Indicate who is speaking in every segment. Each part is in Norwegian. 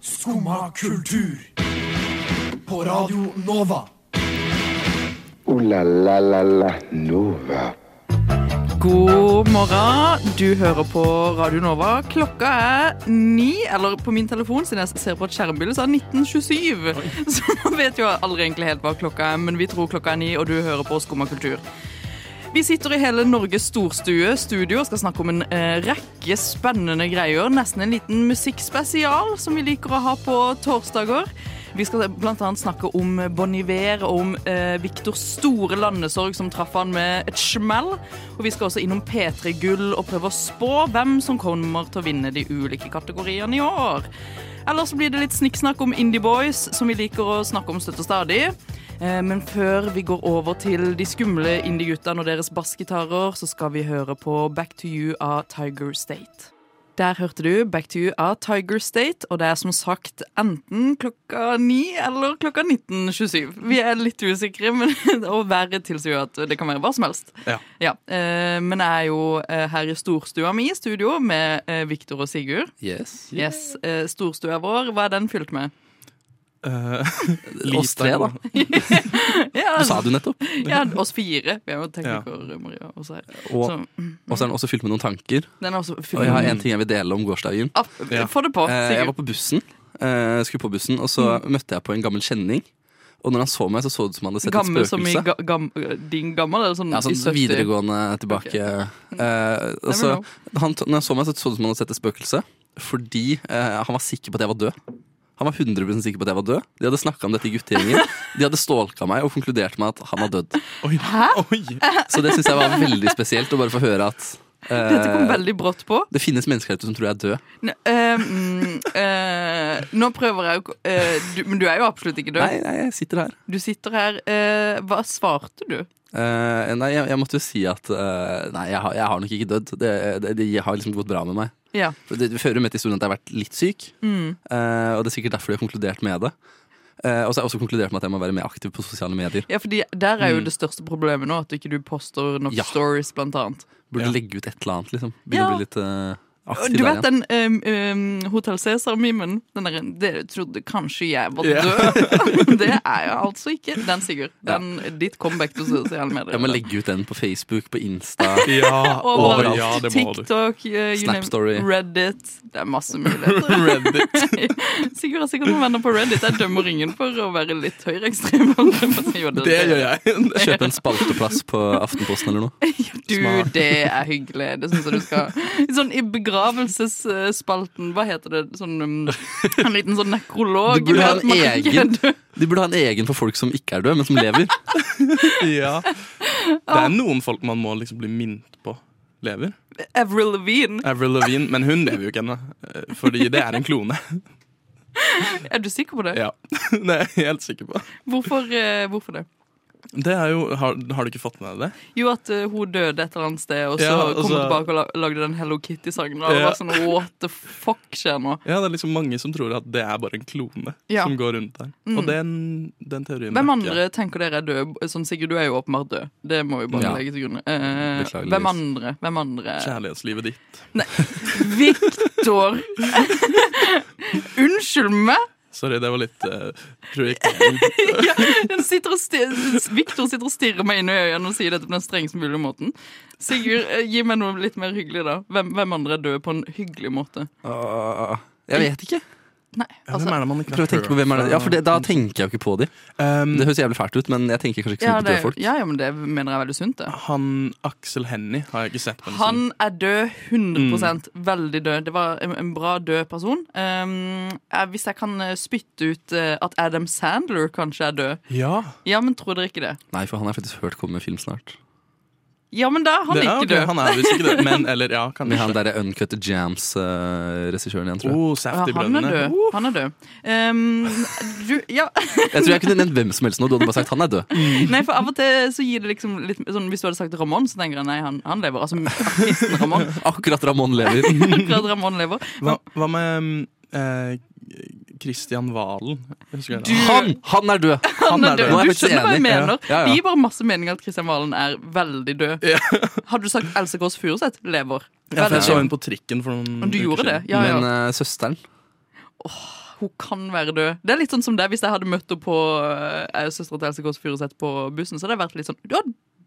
Speaker 1: Skumma kultur. På Radio Nova.
Speaker 2: Ooh la la la la Nova.
Speaker 3: God morgen. Du hører på Radio Nova. Klokka er ni, eller på min telefon, siden jeg ser på et skjermbilde, så er det 1927. Så man vet jo aldri egentlig helt hva klokka er, men vi tror klokka er ni, og du hører på Skumma kultur. Vi sitter i hele Norges storstue studio og skal snakke om en eh, rekke spennende greier. Nesten en liten musikkspesial som vi liker å ha på torsdager. Vi skal bl.a. snakke om Bon Iver og om eh, Viktors store landesorg som traff han med et smell. Og vi skal også innom P3 Gull og prøve å spå hvem som kommer til å vinne de ulike kategoriene i år. Ellers så blir det litt snikksnakk om Indie Boys, som vi liker å snakke om støtt og stadig. Eh, Men før vi går over til de skumle indie-guttene og deres bassgitarer, så skal vi høre på Back to You av Tiger State. Der hørte du Back to You av Tiger State, og det er som sagt enten klokka 9 eller klokka 19.27. Vi er litt usikre, men og været tilsier jo at det kan være hva som helst.
Speaker 4: Ja.
Speaker 3: eh, men jeg er jo eh, her i storstua mi i studio med eh, Viktor og Sigurd.
Speaker 4: Yes.
Speaker 3: Yes, eh, Storstua vår, hva er den fylt med? Eh,
Speaker 4: Oss tre, da.
Speaker 3: Ja,
Speaker 4: Sa du nettopp.
Speaker 3: Ja, oss fire. Vi er jo teknikere, Maria. Også her.
Speaker 4: Og,
Speaker 3: Så,
Speaker 4: og så er den også fylt med noen tanker.
Speaker 3: den er også
Speaker 4: Og jeg har en ting jeg vil dele om gårsdagen.
Speaker 3: Ah, Få det på,
Speaker 4: Eh, Jeg
Speaker 3: Sigurd.
Speaker 4: var på bussen, eh, jeg skulle på bussen, og så
Speaker 3: Mm.
Speaker 4: møtte jeg på en gammel kjenning. Og når han så meg, så så det ut som han hadde sett
Speaker 3: Gammel
Speaker 4: et
Speaker 3: som i
Speaker 4: spøkelse.
Speaker 3: ga, gam, din gammel? Eller sånn,
Speaker 4: Ja, sånn
Speaker 3: i 70?
Speaker 4: videregående tilbake.
Speaker 3: Ok.
Speaker 4: Eh, og så, han, når jeg så meg, så så det ut som han hadde sett et spøkelse. Fordi eh, han var sikker på at jeg var død. Han var 100 sikker på at jeg var død. De hadde snakka om dette i guttegjengen. De hadde stalka meg og konkludert med at han var død. Så det syns jeg var veldig spesielt å bare få høre at eh,
Speaker 3: Dette kom veldig brått på.
Speaker 4: det finnes mennesker der ute som tror jeg er død.
Speaker 3: N eh, mm, eh, nå prøver jeg å ko- eh, du, Men du er jo absolutt ikke
Speaker 4: Nei,
Speaker 3: død.
Speaker 4: nei, jeg sitter her.
Speaker 3: Du sitter her. eh, hva svarte du?
Speaker 4: Eh, nei, jeg, jeg måtte jo si at eh, Nei, jeg har, jeg har nok ikke dødd. Det, det, det har liksom gått bra med meg.
Speaker 3: Ja.
Speaker 4: For Det fører jo med til historien at jeg har vært litt syk,
Speaker 3: Mm.
Speaker 4: eh, og det er sikkert derfor de har konkludert med det. Eh, og så har jeg også konkludert med at jeg må være mer aktiv på sosiale medier.
Speaker 3: Ja, fordi Der er jo
Speaker 4: Mm.
Speaker 3: det største problemet nå, at du ikke du poster nok
Speaker 4: Ja.
Speaker 3: stories, blant annet.
Speaker 4: Burde
Speaker 5: Ja.
Speaker 4: legge ut et eller annet, liksom. Begynne
Speaker 3: Ja.
Speaker 4: å bli litt eh, aktiv
Speaker 3: Du
Speaker 4: der
Speaker 3: vet
Speaker 4: igjen.
Speaker 3: den um, um, Hotell Cæsar-memen? Den der, Dere trodde kanskje jeg var
Speaker 4: Ja.
Speaker 3: død. det er jeg altså ikke. Den, Sigurd. Den, Ditt comeback til sosiale medier.
Speaker 4: Jeg må legge ut den på Facebook, på Insta.
Speaker 5: Ja,
Speaker 3: Overalt.
Speaker 5: å, ja, det må du.
Speaker 3: TikTok, uh, you
Speaker 4: Snap
Speaker 3: name-
Speaker 4: Story.
Speaker 3: Reddit. Det er masse muligheter.
Speaker 4: Reddit.
Speaker 3: Sigurd har sikkert noen venner på Reddit. Jeg dømmer ingen for å være litt høyreekstrem. det
Speaker 4: jeg. Kjøpe en spalteplass på Aftenposten eller noe.
Speaker 3: Du,
Speaker 4: Smart.
Speaker 3: det er hyggelig. Det syns jeg du skal Sånn i begravelsesspalten, hva heter det? Sånn, um, en liten sånn nekrolog.
Speaker 4: Du burde ha
Speaker 3: med
Speaker 4: en
Speaker 3: at man ikke
Speaker 4: egen.
Speaker 3: er død.
Speaker 4: De burde ha en egen for folk som ikke er døde, men som lever.
Speaker 5: Ja. Det er noen folk man må liksom bli minnet på lever.
Speaker 3: Avril Lavigne.
Speaker 5: Avril Lavigne, men hun lever jo ikke ennå, eh, fordi det er en klone.
Speaker 3: Er du sikker på det?
Speaker 5: Ja, Det er jeg helt sikker på.
Speaker 3: Hvorfor, eh, hvorfor det?
Speaker 5: Det er jo, har, har du ikke fått med deg det?
Speaker 3: Jo, at eh, hun døde et eller annet sted, og så
Speaker 5: Ja, og
Speaker 3: kom hun
Speaker 4: altså-
Speaker 5: så-
Speaker 3: tilbake og la- lagde den Hello Kitty-sangen. Og
Speaker 5: Ja.
Speaker 3: var sånn, what the fuck skjer nå?
Speaker 5: Ja, Det er liksom mange som tror at det er bare en klone
Speaker 3: Ja.
Speaker 5: som går rundt der.
Speaker 4: Mm.
Speaker 5: Og den, den teorien
Speaker 3: Hvem
Speaker 5: backer jeg.
Speaker 3: andre tenker dere er død? Sånn, Sigurd, du er jo åpenbart død. Det må vi bare
Speaker 4: Ja.
Speaker 3: legge til grunn. Eh,
Speaker 4: Beklageligvis.
Speaker 3: hvem andre? Hvem andre?
Speaker 5: Kjærlighetslivet ditt.
Speaker 3: Victor! Unnskyld meg!
Speaker 5: Sorry, det var litt eh, projektering.
Speaker 3: Ja, den sitter og stir- Victor sitter og stirrer meg inn i øynene og sier dette på den strengest mulige måten. Sigurd, eh, gi meg noe litt mer hyggelig, da. Hvem, hvem andre er døde på en hyggelig måte?
Speaker 4: Åh, Jeg vet ikke.
Speaker 3: Nei,
Speaker 5: Ja, hvem
Speaker 3: altså
Speaker 5: er det man ikke
Speaker 4: Prøv å tenke på hvem er det. Ja, for det, Da tenker jeg jo ikke på de.
Speaker 5: Um,
Speaker 4: Det høres jævlig fælt ut, men jeg tenker kanskje ikke så
Speaker 3: ja,
Speaker 4: mye på døde
Speaker 3: det,
Speaker 4: folk.
Speaker 3: ja, ja, men det mener jeg er veldig sunt, det.
Speaker 5: han Aksel Hennie har jeg ikke sett på en stund.
Speaker 3: Han er død 100
Speaker 5: Mm.
Speaker 3: Veldig død. Det var en, en bra død person. Um, jeg, hvis jeg kan eh, spytte ut eh, at Adam Sandler kanskje er død
Speaker 5: Ja,
Speaker 3: Ja, men tror dere ikke det?
Speaker 4: Nei, for han har jeg faktisk hørt komme med film snart.
Speaker 3: Ja, men da er han
Speaker 5: det,
Speaker 3: ikke
Speaker 5: ja, ok,
Speaker 3: død.
Speaker 5: Han er visst ikke død, men eller ja,
Speaker 4: Med han
Speaker 5: kanskje.
Speaker 4: derre Uncut Jams-regissøren igjen, tror jeg.
Speaker 5: Oh,
Speaker 3: Ja,
Speaker 5: safety
Speaker 3: han er
Speaker 5: brødrene.
Speaker 3: død. Han er død. Um, du, ja.
Speaker 4: Jeg tror jeg kunne nevnt hvem som helst nå, du hadde bare sagt han er død.
Speaker 3: Nei, for av og til så gir det liksom litt sånn, Hvis du hadde sagt Ramón, så tenker jeg nei, han, han lever. Altså artisten Ramón.
Speaker 4: Akkurat Ramón lever.
Speaker 3: Akkurat Ramón lever.
Speaker 5: Hva, hva med um, eh, Christian Valen? Jeg husker ikke hva
Speaker 4: Han! Han er død!
Speaker 5: Han er
Speaker 3: Du
Speaker 4: Nå er
Speaker 5: død.
Speaker 4: jeg faktisk
Speaker 3: skjønner hva jeg
Speaker 4: enig.
Speaker 3: mener.
Speaker 4: Ja, ja.
Speaker 3: Det gir bare masse mening at Kristian Valen er veldig død. Hadde du sagt Else Kåss Furuseth lever?
Speaker 5: Ja, for jeg
Speaker 3: Veldig
Speaker 5: så
Speaker 3: død.
Speaker 5: henne på trikken for noen
Speaker 3: Du gjorde det? Ja, ja.
Speaker 4: Men eh, søsteren
Speaker 3: hun kan være død. Det er litt sånn som det, Hvis jeg hadde møtt henne på eh, søstera til Else Kåss Furuseth på bussen, så hadde jeg vært litt sånn Ja,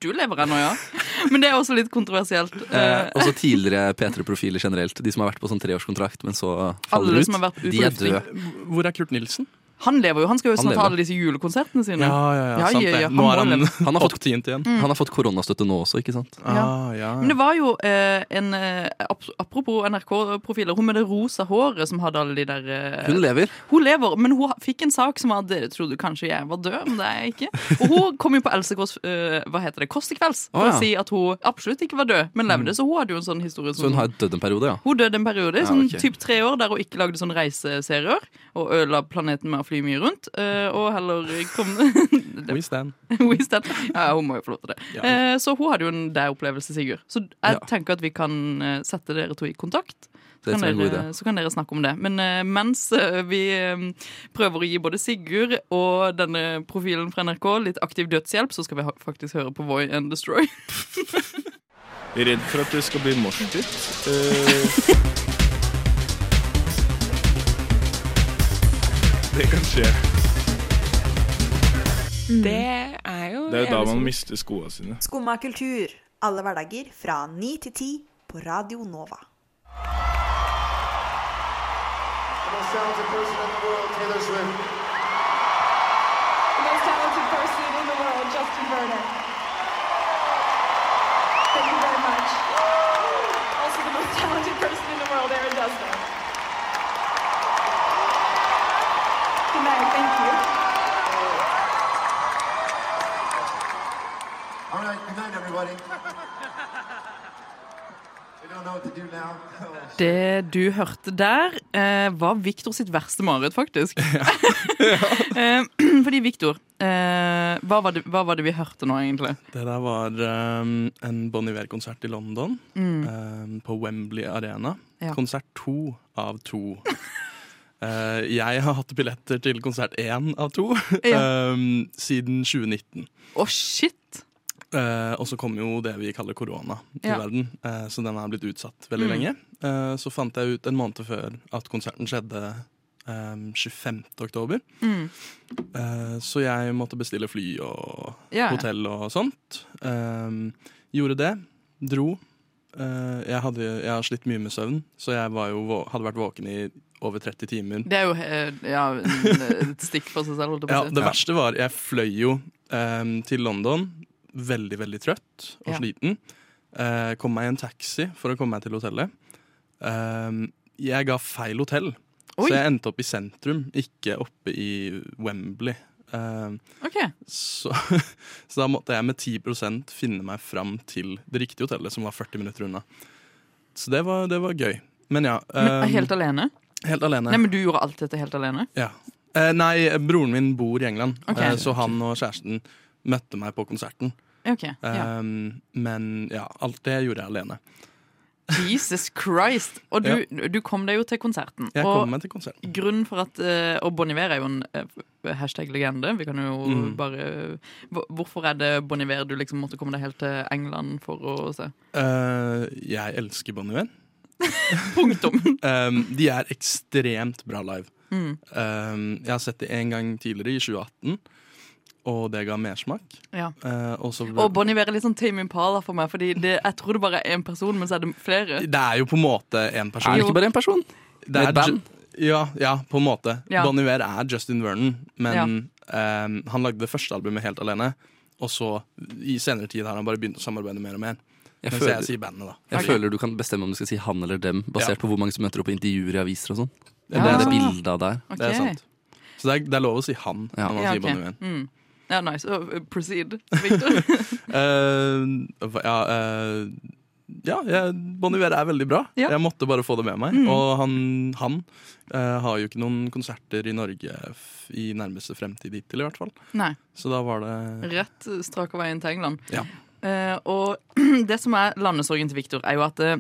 Speaker 3: du lever ennå, ja. Men det er også litt kontroversielt.
Speaker 4: Eh, også tidligere P3-profiler generelt. De som har vært på sånn treårskontrakt, men så faller
Speaker 3: Alle
Speaker 4: ut.
Speaker 3: som har vært
Speaker 4: de er
Speaker 3: ufornuftige.
Speaker 4: døde.
Speaker 5: Hvor er Kurt Nilsen?
Speaker 3: Han lever jo, han skal jo
Speaker 4: Han
Speaker 3: snart ha
Speaker 4: lever.
Speaker 3: alle disse julekonsertene sine. Ja,
Speaker 5: sant
Speaker 3: ja,
Speaker 5: det.
Speaker 3: ja, han må
Speaker 5: Nå
Speaker 3: Mm,
Speaker 5: er han,
Speaker 3: leve.
Speaker 5: han har fått tient igjen.
Speaker 4: Han har fått koronastøtte nå også, ikke sant?
Speaker 5: Ah, ja.
Speaker 3: Men det var jo eh, en eh, ap- Apropos NRK-profiler, hun med det rosa håret som hadde alle de der eh,
Speaker 4: Hun lever.
Speaker 3: Hun lever, men hun fikk en sak som var at dere trodde kanskje jeg var død, men det er jeg ikke. Og hun kom jo på Else Kåss eh, hva heter det, Kåss til kvelds for
Speaker 4: Å, ja.
Speaker 3: å si at hun absolutt ikke var død, men levde. Så hun hadde jo en sånn historie.
Speaker 4: Så
Speaker 3: Som,
Speaker 4: hun har dødd en periode, ja.
Speaker 3: hun døde en periode,
Speaker 4: Ja,
Speaker 3: sånn
Speaker 4: ok.
Speaker 3: typ tre år, der hun ikke lagde sånn reiseserier og ødela planeten med å fly mye rundt, eh, og heller kom
Speaker 5: We stand.
Speaker 3: We stand. Ja, hun må jo få lov til det.
Speaker 5: Ja.
Speaker 3: Eh, Så hun hadde jo en deg opplevelse, Sigurd. Så jeg
Speaker 4: Ja.
Speaker 3: tenker at vi kan eh, sette dere to i kontakt. Så
Speaker 4: Det
Speaker 3: kan,
Speaker 4: tror jeg er en god
Speaker 3: dere, så kan dere snakke om det. Men eh, mens eh, vi eh, prøver å gi både Sigurd og denne profilen fra NRK litt aktiv dødshjelp, så skal vi ha- faktisk høre på Voy and Destroy.
Speaker 6: Redd for at det skal bli eh. morsdytt. det kan skje.
Speaker 7: Det er jo
Speaker 6: Det er jo da
Speaker 7: jævlig
Speaker 6: man
Speaker 7: sånn.
Speaker 6: mister skoene sine.
Speaker 8: Skumma kultur. Alle hverdager fra 9 til 10 på Radio Nova.
Speaker 9: All right, good night, everybody. we don't know what to do now.
Speaker 3: Det du hørte der, eh, var Victor sitt verste mareritt, faktisk. Eh, Fordi Victor, eh, hva, var det, hva var det vi hørte nå, egentlig?
Speaker 5: Det der var ehm, en Bon Iver-konsert i London. ehm, på Wembley Arena.
Speaker 3: Mm. Ja.
Speaker 5: Konsert to av to. Eh, jeg har hatt billetter til konsert én av to
Speaker 3: Ja.
Speaker 5: ehm, siden 2019.
Speaker 3: Å, shit!
Speaker 5: Eh, og så kom jo det vi kaller korona til
Speaker 3: Ja. Mm.
Speaker 5: verden, eh, så den er blitt utsatt veldig lenge. Eh, så fant jeg ut en måned før at konserten skjedde ehm, 25. oktober.
Speaker 3: Mm.
Speaker 5: Eh, så jeg måtte bestille fly og
Speaker 3: Ja.
Speaker 5: hotell og sånt. Ehm, gjorde det. Dro. Eh, jeg, hadde, jeg har slitt mye med søvn, så jeg var jo, vå- hadde vært våken i over 30 timer.
Speaker 3: Det er jo eh, ja, et stikk for seg selv. holdt jeg på
Speaker 5: Ja,
Speaker 3: å si.
Speaker 5: det verste var Jeg fløy jo ehm, til London veldig, veldig trøtt og
Speaker 3: Ja.
Speaker 5: sliten. Eh, kom meg i en taxi for å komme meg til hotellet. Ehm, jeg ga feil hotell,
Speaker 3: Oi.
Speaker 5: så jeg endte opp i sentrum, ikke oppe i Wembley. Ehm,
Speaker 3: Ok,
Speaker 5: så, så da måtte jeg med 10 finne meg fram til det riktige hotellet, som var 40 minutter unna. Så det var, det var gøy. Men ja.
Speaker 3: men
Speaker 5: ehm,
Speaker 3: Helt alene?
Speaker 5: helt alene.
Speaker 3: Nei, men Du gjorde alt dette helt alene?
Speaker 5: Ja. Eh, nei, broren min bor i England,
Speaker 3: Ok.
Speaker 5: eh, så han og kjæresten møtte meg på konserten.
Speaker 3: Ok, ja.
Speaker 5: Um, men ja, alt det gjorde jeg alene.
Speaker 3: Jesus Christ! Og du, du kom deg jo til konserten.
Speaker 5: Jeg
Speaker 3: og
Speaker 5: kom meg til konserten.
Speaker 3: grunnen for at eh, Og Bon Iver er jo en eh, hashtag-legende. Vi kan jo
Speaker 5: Mm.
Speaker 3: bare Hvor- Hvorfor er det Bon Iver du liksom måtte komme deg helt til England for å se?
Speaker 5: Eh, jeg elsker Bon Iver.
Speaker 3: Punktum!
Speaker 5: Um, de er ekstremt bra live.
Speaker 3: Mm.
Speaker 5: Um, jeg har sett det en gang tidligere, i 2018, og det ga mersmak.
Speaker 3: Ja.
Speaker 5: Eh, og så
Speaker 3: Og Bon Iver er litt sånn Tame Impala for meg, Fordi det, jeg tror det bare er én person, men så er det flere.
Speaker 5: Det er jo på en måte en
Speaker 4: Er
Speaker 5: person.
Speaker 4: det
Speaker 3: Jo.
Speaker 4: ikke bare én person?
Speaker 5: Det
Speaker 4: Med
Speaker 5: er
Speaker 4: et band?
Speaker 5: Ju- Ja, ja, på en måte.
Speaker 3: Ja.
Speaker 5: Bon Iver er Justin Vernon, men ehm, han lagde det første albumet helt alene. Og så i senere tid har han bare begynt å samarbeide mer og mer.
Speaker 4: Jeg
Speaker 5: Mens
Speaker 4: føler-
Speaker 5: jeg sier bandet, da.
Speaker 4: Jeg
Speaker 5: Fordi-
Speaker 4: føler du kan bestemme om du skal si han eller dem, basert
Speaker 5: Ja.
Speaker 4: på hvor mange som møter opp på intervjuer i aviser og sånn. Det
Speaker 5: Ja,
Speaker 4: er
Speaker 5: det, er
Speaker 4: det
Speaker 5: sant.
Speaker 4: bildet av der.
Speaker 3: Ok.
Speaker 5: det er sant. Så det er, det er lov å si han
Speaker 4: Ja.
Speaker 5: når man
Speaker 3: Ja,
Speaker 5: sier
Speaker 3: ok.
Speaker 5: Bon Iver.
Speaker 3: Mm. Ja, nice. Uh, proceed, Victor.
Speaker 5: Eh, hva- ja, eh, ja, jeg- Bon Iver er veldig bra.
Speaker 3: Ja.
Speaker 5: Jeg måtte bare få det med meg.
Speaker 4: Mm.
Speaker 5: Og han, han eh, har jo ikke noen konserter i Norge f i nærmeste fremtid hittil, i hvert fall.
Speaker 3: Nei,
Speaker 5: Så da var det
Speaker 3: rett strak av veien til England.
Speaker 5: Ja.
Speaker 3: Eh, og det som er landesorgen til Victor, er jo at eh,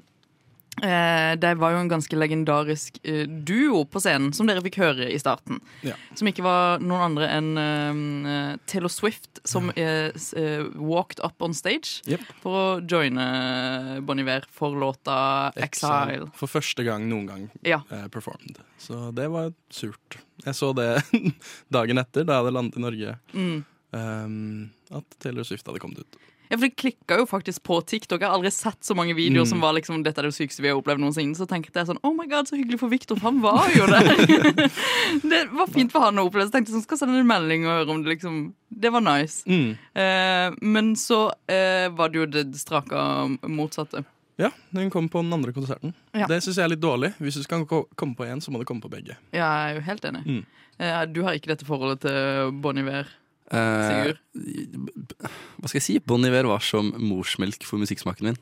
Speaker 3: Eh, de var jo en ganske legendarisk eh, duo på scenen, som dere fikk høre i starten.
Speaker 5: Ja.
Speaker 3: Som ikke var noen andre enn eh, Taylor Swift, som eh, s- eh, walked up on stage
Speaker 5: Jep.
Speaker 3: for å joine Bon Iver for låta 'Exile'.
Speaker 5: For første gang noen gang
Speaker 3: Ja.
Speaker 5: eh, performed. Så det var surt. Jeg så det dagen etter, da jeg hadde landet i Norge,
Speaker 3: Mm.
Speaker 5: ehm, at Taylor Swift hadde kommet ut.
Speaker 3: Ja, for det klikka jo faktisk på TikTok. Jeg har aldri sett så mange videoer som var liksom Dette er det sykeste vi har opplevd noensinne. Så tenkte jeg sånn Oh my god, så hyggelig for Victor, for han var jo der. det var fint for han å oppleve. Så tenkte jeg sånn Skal sende en melding og høre om det liksom Det var nice. Eh, men så eh, var det jo det straka motsatte.
Speaker 5: Ja, hun kom på den andre konserten.
Speaker 3: Ja.
Speaker 5: Det syns jeg er litt dårlig. Hvis du skal ko- komme på én, så må du komme på begge.
Speaker 3: Ja, jeg er jo helt enig.
Speaker 5: Mm.
Speaker 3: Eh, du har ikke dette forholdet til Bon Iver.
Speaker 4: Eh,
Speaker 3: Sigurd?
Speaker 4: hva skal jeg si? Bon Iver var som morsmelk for musikksmaken min.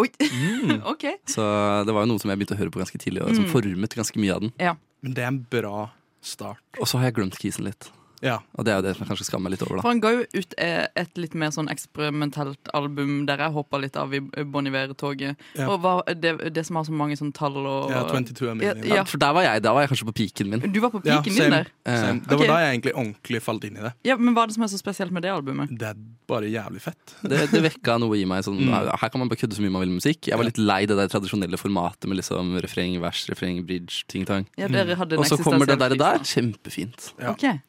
Speaker 3: Oi! OK.
Speaker 4: Så det var jo noe som jeg begynte å høre på ganske tidlig, og som formet ganske mye av den.
Speaker 5: Men det er en bra start.
Speaker 4: Og så har jeg glemt kisen litt.
Speaker 5: Ja.
Speaker 4: Og det er jo det som jeg kanskje skammer meg litt over, da.
Speaker 3: For han ga jo ut eh, et litt mer sånn eksperimentelt album der jeg hoppa litt av i Bon Iver-toget.
Speaker 5: Ja.
Speaker 3: Og hva, det, det som har så mange sånn tall og
Speaker 5: ja 22 er min.
Speaker 3: Ja,
Speaker 5: linje.
Speaker 4: Ja, for der var jeg. Der var jeg kanskje på piken min.
Speaker 3: Du var på
Speaker 5: Ja,
Speaker 3: piken
Speaker 5: same,
Speaker 3: din der.
Speaker 5: same. Det var
Speaker 3: Ok.
Speaker 5: da jeg egentlig ordentlig falt inn i det.
Speaker 3: Ja, Men hva er det som er så spesielt med det albumet?
Speaker 5: Det er bare jævlig fett.
Speaker 4: Det, det vekka noe i meg. Sånn, Her kan man bare kødde så mye man vil med musikk. Jeg var litt lei det der tradisjonelle formatet med liksom refreng, vers, refreng, bridge, ting-tang.
Speaker 3: Ja, dere hadde en
Speaker 4: Og så kommer det
Speaker 3: eksistensiell
Speaker 4: der, der.
Speaker 3: krise.
Speaker 4: Kjempefint.
Speaker 5: Mm. Ja.
Speaker 3: Ok,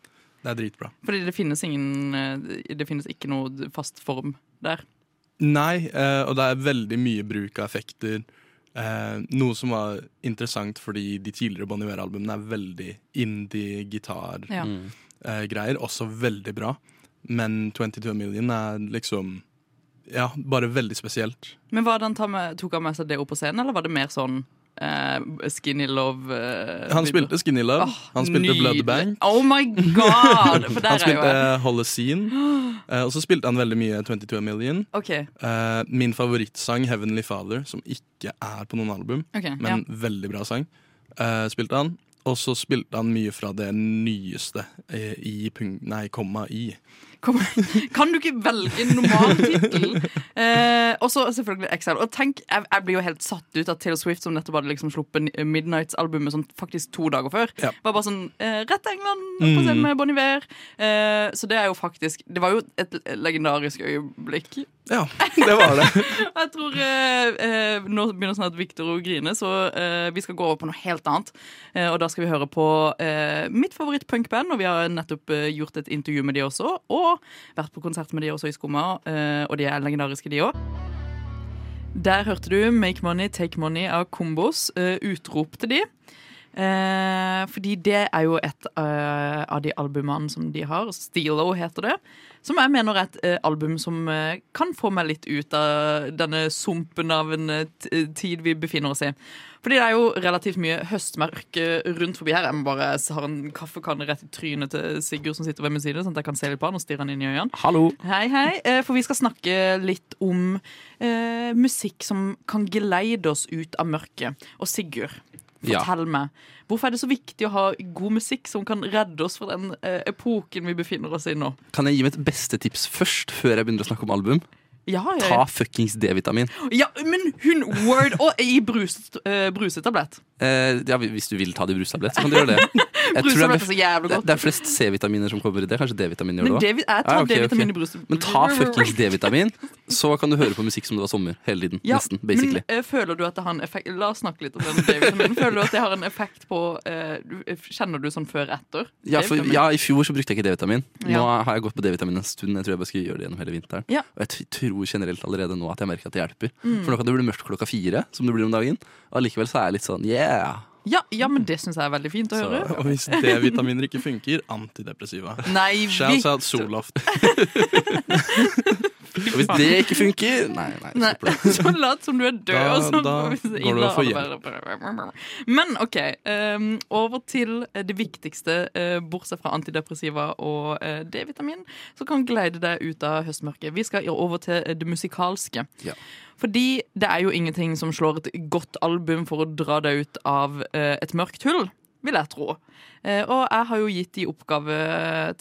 Speaker 5: Det er dritbra.
Speaker 3: Fordi det finnes ingen eh, Det finnes ikke noe fast form der.
Speaker 5: Nei, eh, og det er veldig mye bruk av effekter. Eh, noe som var interessant fordi de tidligere Bon Iver-albumene er veldig
Speaker 3: Ja.
Speaker 5: indie-gitar-greier. også veldig bra. Men 22 Million er liksom Ja, bare veldig spesielt.
Speaker 3: Men var det han ta med, Tok han med seg det opp på scenen, eller var det mer sånn eh, skinny love? eh,
Speaker 5: Han
Speaker 3: bilder?
Speaker 5: spilte Skinny Love,
Speaker 3: Åh,
Speaker 5: han spilte
Speaker 3: nydelig.
Speaker 5: Bloodbank,
Speaker 3: Oh my god! For
Speaker 5: han
Speaker 3: der er jo
Speaker 5: spilte
Speaker 3: jeg.
Speaker 5: Holocene, eh, og så spilte han veldig mye 22 Million.
Speaker 3: Ok,
Speaker 5: Eh, min favorittsang, 'Heavenly Father', som ikke er på noen album,
Speaker 3: ok,
Speaker 5: men veldig bra sang, eh, spilte han. Og så spilte han mye fra det nyeste eh, i punk... Nei, komma i.
Speaker 3: Kom, kan du ikke velge en normal tittel? Eh, og så selvfølgelig Exile. Og tenk, jeg, jeg blir jo helt satt ut av Taylor Swift, som nettopp hadde liksom sluppet Midnights-albumet sånn, faktisk to dager før.
Speaker 5: Ja.
Speaker 3: Var bare sånn eh, Rett til England, opp på scenen med Bon Iver. Eh, så det er jo faktisk Det var jo et legendarisk øyeblikk.
Speaker 5: Ja, det var det.
Speaker 3: Og Jeg tror eh, eh, Nå begynner snart Victor å grine, så eh, vi skal gå over på noe helt annet. Eh, og da skal vi høre på eh, mitt favoritt-punkband, og vi har nettopp eh, gjort et intervju med de også. Og vært på konsert med de også i Skumma, eh, og de er legendariske, de òg. Der hørte du Make Money, Take Money av Kombos. eh, utrop til de. Eh, fordi det er jo et eh, av de albumene som de har. Steelo heter det. Som jeg mener er et eh, album som eh, kan få meg litt ut av denne sumpen av en eh, t- tid vi befinner oss i. Fordi det er jo relativt mye høstmørke rundt forbi her. Jeg må bare jeg har en kaffekanne rett i trynet til Sigurd som sitter ved min side, sånn at jeg kan se litt på han og stirre han inn i øynene.
Speaker 4: Hallo!
Speaker 3: Hei, hei. Eh, For vi skal snakke litt om eh, musikk som kan geleide oss ut av mørket. Og Sigurd,
Speaker 4: Ja.
Speaker 3: fortell meg. Hvorfor er det så viktig å ha god musikk som kan redde oss fra den eh, epoken vi befinner oss i nå?
Speaker 4: Kan jeg gi mitt beste tips først, før jeg begynner å snakke om album?
Speaker 3: Ja, ja,
Speaker 4: Ta fuckings D-vitamin.
Speaker 3: ja. ja men hun Word og i bruset, eh, brusetablett.
Speaker 4: Eh, ja, hvis du vil ta det i brustablett, så kan du gjøre det. Jeg tror det,
Speaker 3: Brusetablett
Speaker 4: er,
Speaker 3: er så jævlig
Speaker 4: det,
Speaker 3: godt.
Speaker 4: det er flest C-vitaminer som kommer i det. Kanskje D-vitamin gjør
Speaker 3: Men
Speaker 4: det òg.
Speaker 3: det, vi- jeg tar
Speaker 4: Ah, ok,
Speaker 3: D-vitamin
Speaker 4: ok.
Speaker 3: i brusetablett.
Speaker 4: Men ta fuckings D-vitamin, så kan du høre på musikk som det var sommer hele tiden.
Speaker 3: Ja,
Speaker 4: Nesten, basically.
Speaker 3: Men eh, føler du at det har en effekt La oss snakke litt om den D-vitaminen. Føler du at det har en effekt på eh, du- Kjenner du sånn før etter?
Speaker 4: Ja, for,
Speaker 3: D-vitamin?
Speaker 4: ja, I fjor så brukte jeg ikke D-vitamin. Nå
Speaker 3: Ja.
Speaker 4: har jeg gått på D-vitamin en stund. Jeg tror jeg bare skal gjøre det gjennom hele vinteren.
Speaker 3: Ja. Mm.
Speaker 4: Og jeg t- tror generelt allerede nå at jeg merker at det hjelper. For nå kan det bli mørkt klokka fire, som det blir om dagen. Og allikevel så er jeg litt sånn yeah!
Speaker 3: Ja, ja, men det syns jeg er veldig fint å
Speaker 4: Så,
Speaker 3: høre.
Speaker 5: Og hvis D-vitaminer ikke funker, antidepressiva.
Speaker 3: Nei, vi
Speaker 5: Shouts out Soloft.
Speaker 4: og hvis det ikke funker Nei, nei.
Speaker 3: Nei,
Speaker 4: stopp det.
Speaker 3: Så lat som du er død.
Speaker 5: Da-
Speaker 3: og så
Speaker 5: da
Speaker 3: hvis det
Speaker 5: går du og får
Speaker 3: inneholder bare- Men OK. ehm, over til det viktigste, eh, bortsett fra antidepressiva og eh, D-vitamin, som kan gleide deg ut av høstmørket. Vi skal over til eh, det musikalske.
Speaker 4: Ja.
Speaker 3: Fordi det er jo ingenting som slår et godt album for å dra deg ut av eh, et mørkt hull. vil jeg tro. Eh, Og jeg har jo gitt i oppgave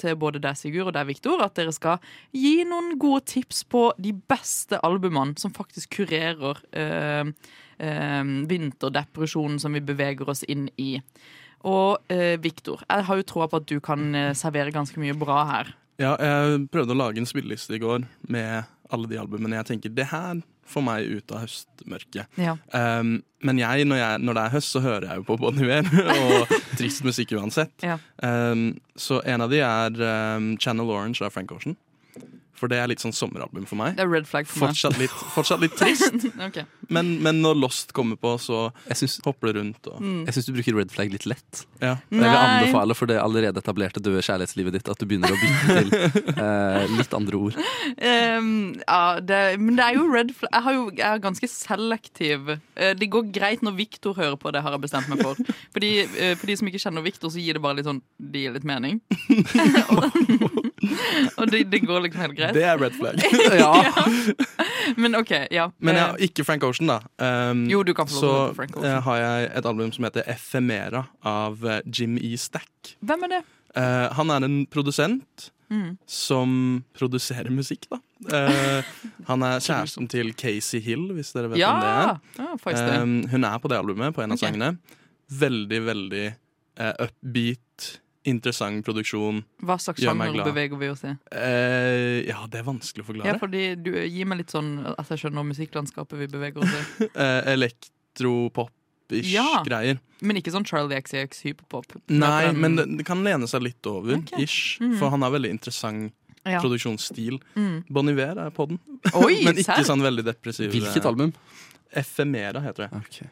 Speaker 3: til både deg, Sigurd, og deg, Viktor, at dere skal gi noen gode tips på de beste albumene som faktisk kurerer eh, eh, vinterdepresjonen som vi beveger oss inn i. Og eh, Viktor, jeg har jo troa på at du kan eh, servere ganske mye bra her.
Speaker 5: Ja, jeg prøvde å lage en spilleliste i går med alle de albumene jeg tenker det her får meg ut av høstmørket.
Speaker 3: Ja.
Speaker 5: Um, men jeg når, jeg, når det er høst, så hører jeg jo på Bon Iver og trist musikk uansett.
Speaker 3: Ja.
Speaker 5: Um, så en av de er um, Channel Orange av Frank Ocean. For det er litt sånn sommeralbum for meg.
Speaker 3: Det er red flag for meg.
Speaker 5: Fortsatt litt, fortsatt litt trist,
Speaker 3: Ok.
Speaker 5: men, men når Lost kommer på, så
Speaker 4: Jeg syns,
Speaker 5: hopper det rundt. Og,
Speaker 3: Mm.
Speaker 4: jeg syns du bruker red flag litt lett.
Speaker 5: ja.
Speaker 4: Og Jeg vil
Speaker 3: Nei.
Speaker 4: anbefale for det allerede etablerte døde kjærlighetslivet ditt at du begynner å bytte til eh, litt andre ord.
Speaker 3: Ehm, ja, det, men det er jo red flag Jeg, har jo, jeg er ganske selektiv. Eh, det går greit når Victor hører på det, har jeg bestemt meg for. Fordi, eh, for de som ikke kjenner Victor, så gir det bare litt sånn Det gir litt mening. og og det, det går liksom helt greit.
Speaker 5: Det er red flag.
Speaker 4: Ja,
Speaker 3: Men OK, ja.
Speaker 5: Men
Speaker 3: Eh,
Speaker 5: jeg, ikke Frank Ocean, da. Um,
Speaker 3: Jo, du kan få lov til å
Speaker 5: så
Speaker 3: høre på Frank Ocean.
Speaker 5: eh, har jeg et album som heter Ephemera av eh, Jim E. Stack.
Speaker 3: hvem er det?
Speaker 5: Eh, han er en produsent
Speaker 3: Mm.
Speaker 5: som produserer musikk, da. Eh, han er kjæresten til Casey Hill, hvis dere vet
Speaker 3: Ja!
Speaker 5: hvem det er.
Speaker 3: ja faktisk det.
Speaker 5: Um, hun er på det albumet, på en av
Speaker 3: Ok.
Speaker 5: sangene. Veldig, veldig eh, upbeat, interessant produksjon.
Speaker 3: Hva slags
Speaker 5: gjør meg
Speaker 3: sjanger
Speaker 5: glad.
Speaker 3: beveger vi oss i?
Speaker 5: Eh, ja, det er vanskelig å
Speaker 3: Ja,
Speaker 5: forklare.
Speaker 3: fordi du, Gi meg litt sånn at jeg skjønner musikklandskapet vi beveger oss i.
Speaker 5: Eh, Elektropop-ish
Speaker 3: Ja.
Speaker 5: greier.
Speaker 3: Men ikke sånn Charlie XCX hyperpop.
Speaker 5: Nei, men det, det kan lene seg litt over,
Speaker 3: Ok.
Speaker 5: ish.
Speaker 3: Mm.
Speaker 5: For han har veldig interessant
Speaker 3: ja.
Speaker 5: produksjonsstil.
Speaker 3: mm.
Speaker 5: Bon Iver er på den,
Speaker 3: Oi,
Speaker 5: men ikke
Speaker 3: serr?
Speaker 5: sånn veldig depressiv.
Speaker 4: Hvilket album?
Speaker 5: Efemera heter det. E
Speaker 4: Ok.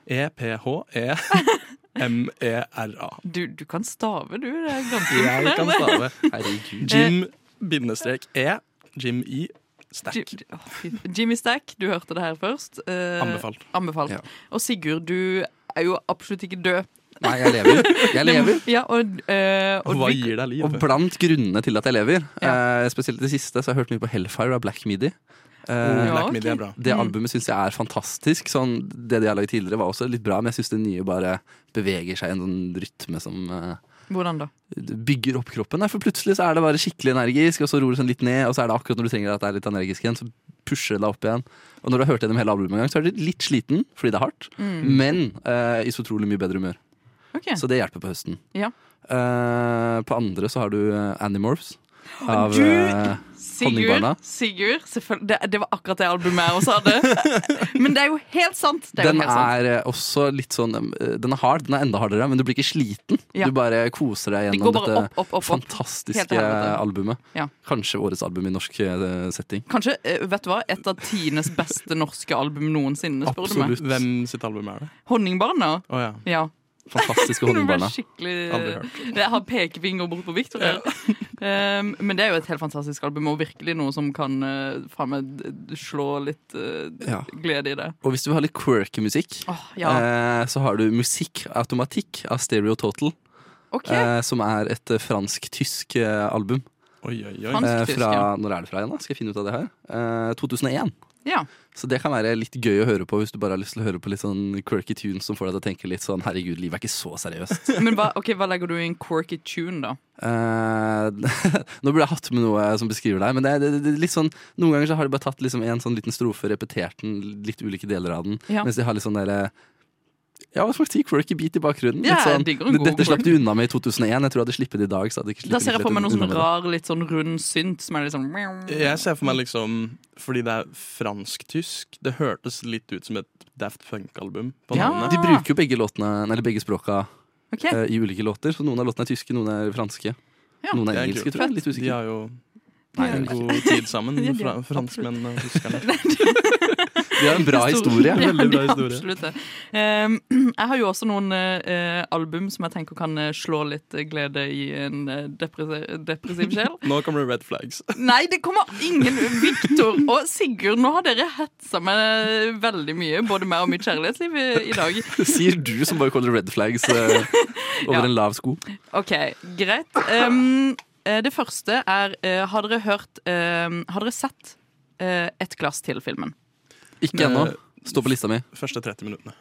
Speaker 5: E-p-h-e-m-e-r-a.
Speaker 3: Du, du kan stave, du. Det er ganske
Speaker 5: E Jeg kan stave.
Speaker 4: Herregud.
Speaker 5: Jim bindestrek E. Jim I.
Speaker 3: Jim-
Speaker 5: Stack.
Speaker 3: Å, fy f- Jimmy Stack, du hørte det her først. Eh,
Speaker 5: Anbefalt.
Speaker 3: anbefalt.
Speaker 4: Ja.
Speaker 3: Og Sigurd, du er jo absolutt ikke død.
Speaker 4: Nei, jeg lever. Jeg lever.
Speaker 3: Ja, og, eh, og
Speaker 5: Hva
Speaker 3: du-
Speaker 5: gir deg
Speaker 4: Og
Speaker 5: liv?
Speaker 4: blant grunnene til at jeg lever, eh, spesielt det siste, så har jeg hørt mye på Hellfire av Black Midi. Eh,
Speaker 3: Ja,
Speaker 5: Black
Speaker 3: ok.
Speaker 5: Midi er bra.
Speaker 4: Det albumet syns jeg er fantastisk. Sånn, det de har laget tidligere, var også litt bra, men jeg syns det nye bare beveger seg i en sånn rytme som eh,
Speaker 3: Hvordan da?
Speaker 4: bygger opp kroppen. Nei, for plutselig så er det bare skikkelig energisk, og så ror det sånn litt ned, og så er det akkurat når du trenger at det er litt energisk igjen, så pusher det deg opp igjen. Og når du har hørt gjennom hele albumet en gang, så er du litt sliten fordi det er hardt,
Speaker 3: Mm.
Speaker 4: men eh, i så utrolig mye bedre humør.
Speaker 3: Ok,
Speaker 4: Så det hjelper på høsten.
Speaker 3: Ja.
Speaker 4: Eh, på andre så har du eh, Animorphs. Av,
Speaker 3: Du-
Speaker 4: eh,
Speaker 3: Sigurd,
Speaker 4: Honningbarna.
Speaker 3: Sigurd selvfølgelig- det, det var akkurat det albumet jeg også hadde. Men det er jo helt sant! Det er
Speaker 4: den
Speaker 3: jo helt sant.
Speaker 4: er eh, også litt sånn eh, Den er hard, den er enda hardere, men du blir ikke sliten.
Speaker 3: Ja.
Speaker 4: Du bare koser deg
Speaker 3: Det går
Speaker 4: gjennom
Speaker 3: bare
Speaker 4: dette
Speaker 3: opp, opp, opp. opp. Helt til
Speaker 4: fantastiske
Speaker 3: helvete.
Speaker 4: albumet.
Speaker 3: Ja.
Speaker 4: Kanskje årets album i norsk eh, setting.
Speaker 3: Kanskje eh, vet du hva, et av Tines beste norske album noensinne, spør du meg.
Speaker 4: Absolutt.
Speaker 5: Hvem sitt album er det?
Speaker 3: Honningbarna?
Speaker 5: Å ja.
Speaker 3: Ja. Nå
Speaker 4: Fantastiske
Speaker 3: ble
Speaker 4: honningbarna.
Speaker 3: jeg skikkelig
Speaker 5: Aldri hørt.
Speaker 3: Jeg har pekefinger bort på Victor. her. Um, men det er jo et helt fantastisk album, og virkelig noe som kan uh, faen meg d- d- slå litt uh, d-
Speaker 4: Ja.
Speaker 3: glede i det.
Speaker 4: Og hvis du vil ha litt quirky musikk,
Speaker 3: Åh, ja,
Speaker 4: eh, så har du Musikk Automatikk av Stereo Total,
Speaker 3: ok
Speaker 4: eh, som er et eh, fransk-tysk eh, album.
Speaker 5: Oi, oi, oi.
Speaker 3: Han-
Speaker 4: Eh,
Speaker 3: Fransk-tysk,
Speaker 4: fra,
Speaker 3: ja.
Speaker 4: når er det fra igjen, da? Skal jeg finne ut av det her? Eh, 2001.
Speaker 3: Ja.
Speaker 4: Så det kan være litt gøy å høre på hvis du bare har lyst til å høre på litt sånn quirky tunes som får deg til å tenke litt sånn herregud, livet er ikke så seriøst.
Speaker 3: Men hva, ok, hva legger du i en quirky tune, da?
Speaker 4: Eh, nå burde jeg hatt med noe som beskriver deg, men det er, det, det, er litt sånn, noen ganger så har de bare tatt liksom en sånn liten strofe, repetert den, litt ulike deler av den,
Speaker 3: Ja.
Speaker 4: mens de har litt sånn derre ja, hva skal man si, quirky beat i bakgrunnen. Litt
Speaker 3: Ja, jeg
Speaker 4: sånn,
Speaker 3: digger en god
Speaker 4: Dette slapp
Speaker 3: quirk.
Speaker 4: de unna med i 2001. Jeg tror jeg hadde sluppet det i dag. Så hadde jeg ikke
Speaker 3: Da
Speaker 4: sluppet
Speaker 3: ser jeg
Speaker 4: det
Speaker 3: for meg noe
Speaker 4: unna
Speaker 3: sånn
Speaker 4: med det.
Speaker 3: rar, litt sånn rund synt som er litt sånn mjau.
Speaker 5: Jeg ser for meg liksom Fordi det er fransk-tysk. Det hørtes litt ut som et Daft Punk-album. på
Speaker 3: Ja.
Speaker 5: navnet.
Speaker 4: De bruker jo begge låtene, eller begge språka
Speaker 3: Ok,
Speaker 4: eh, i ulike låter. Så noen av låtene er tyske, noen er franske.
Speaker 3: Ja,
Speaker 4: noen
Speaker 5: det
Speaker 4: er
Speaker 5: er
Speaker 4: engelske,
Speaker 5: kult.
Speaker 4: tror jeg. Litt
Speaker 5: De
Speaker 4: usikker.
Speaker 5: har jo
Speaker 4: Nei,
Speaker 5: en
Speaker 4: jeg vet ikke.
Speaker 5: god tid sammen,
Speaker 3: Ja, de
Speaker 5: fra,
Speaker 3: har-
Speaker 5: franskmenn og tyskerne.
Speaker 4: de har en bra historie.
Speaker 3: Ja,
Speaker 5: Veldig bra
Speaker 3: det er
Speaker 5: historie.
Speaker 3: Absolutt det. Um, jeg har jo også noen eh, album som jeg tenker kan eh, slå litt eh, glede i en eh, depressiv, depressiv sjel.
Speaker 5: Nå kommer det red flags.
Speaker 3: Nei, det kommer ingen Viktor og Sigurd, nå har dere hetsa meg veldig mye, både meg og mitt kjærlighetsliv i, i dag.
Speaker 4: Sier du som bare kaller red flags eh, over
Speaker 3: Ja.
Speaker 4: en lav sko.
Speaker 3: OK, greit. Um, eh, det første er eh, Har dere hørt um, Har dere sett eh, Et glass til-filmen?
Speaker 4: Ikke ennå.
Speaker 5: Eh,
Speaker 4: Står på lista mi.
Speaker 5: Første 30 minuttene.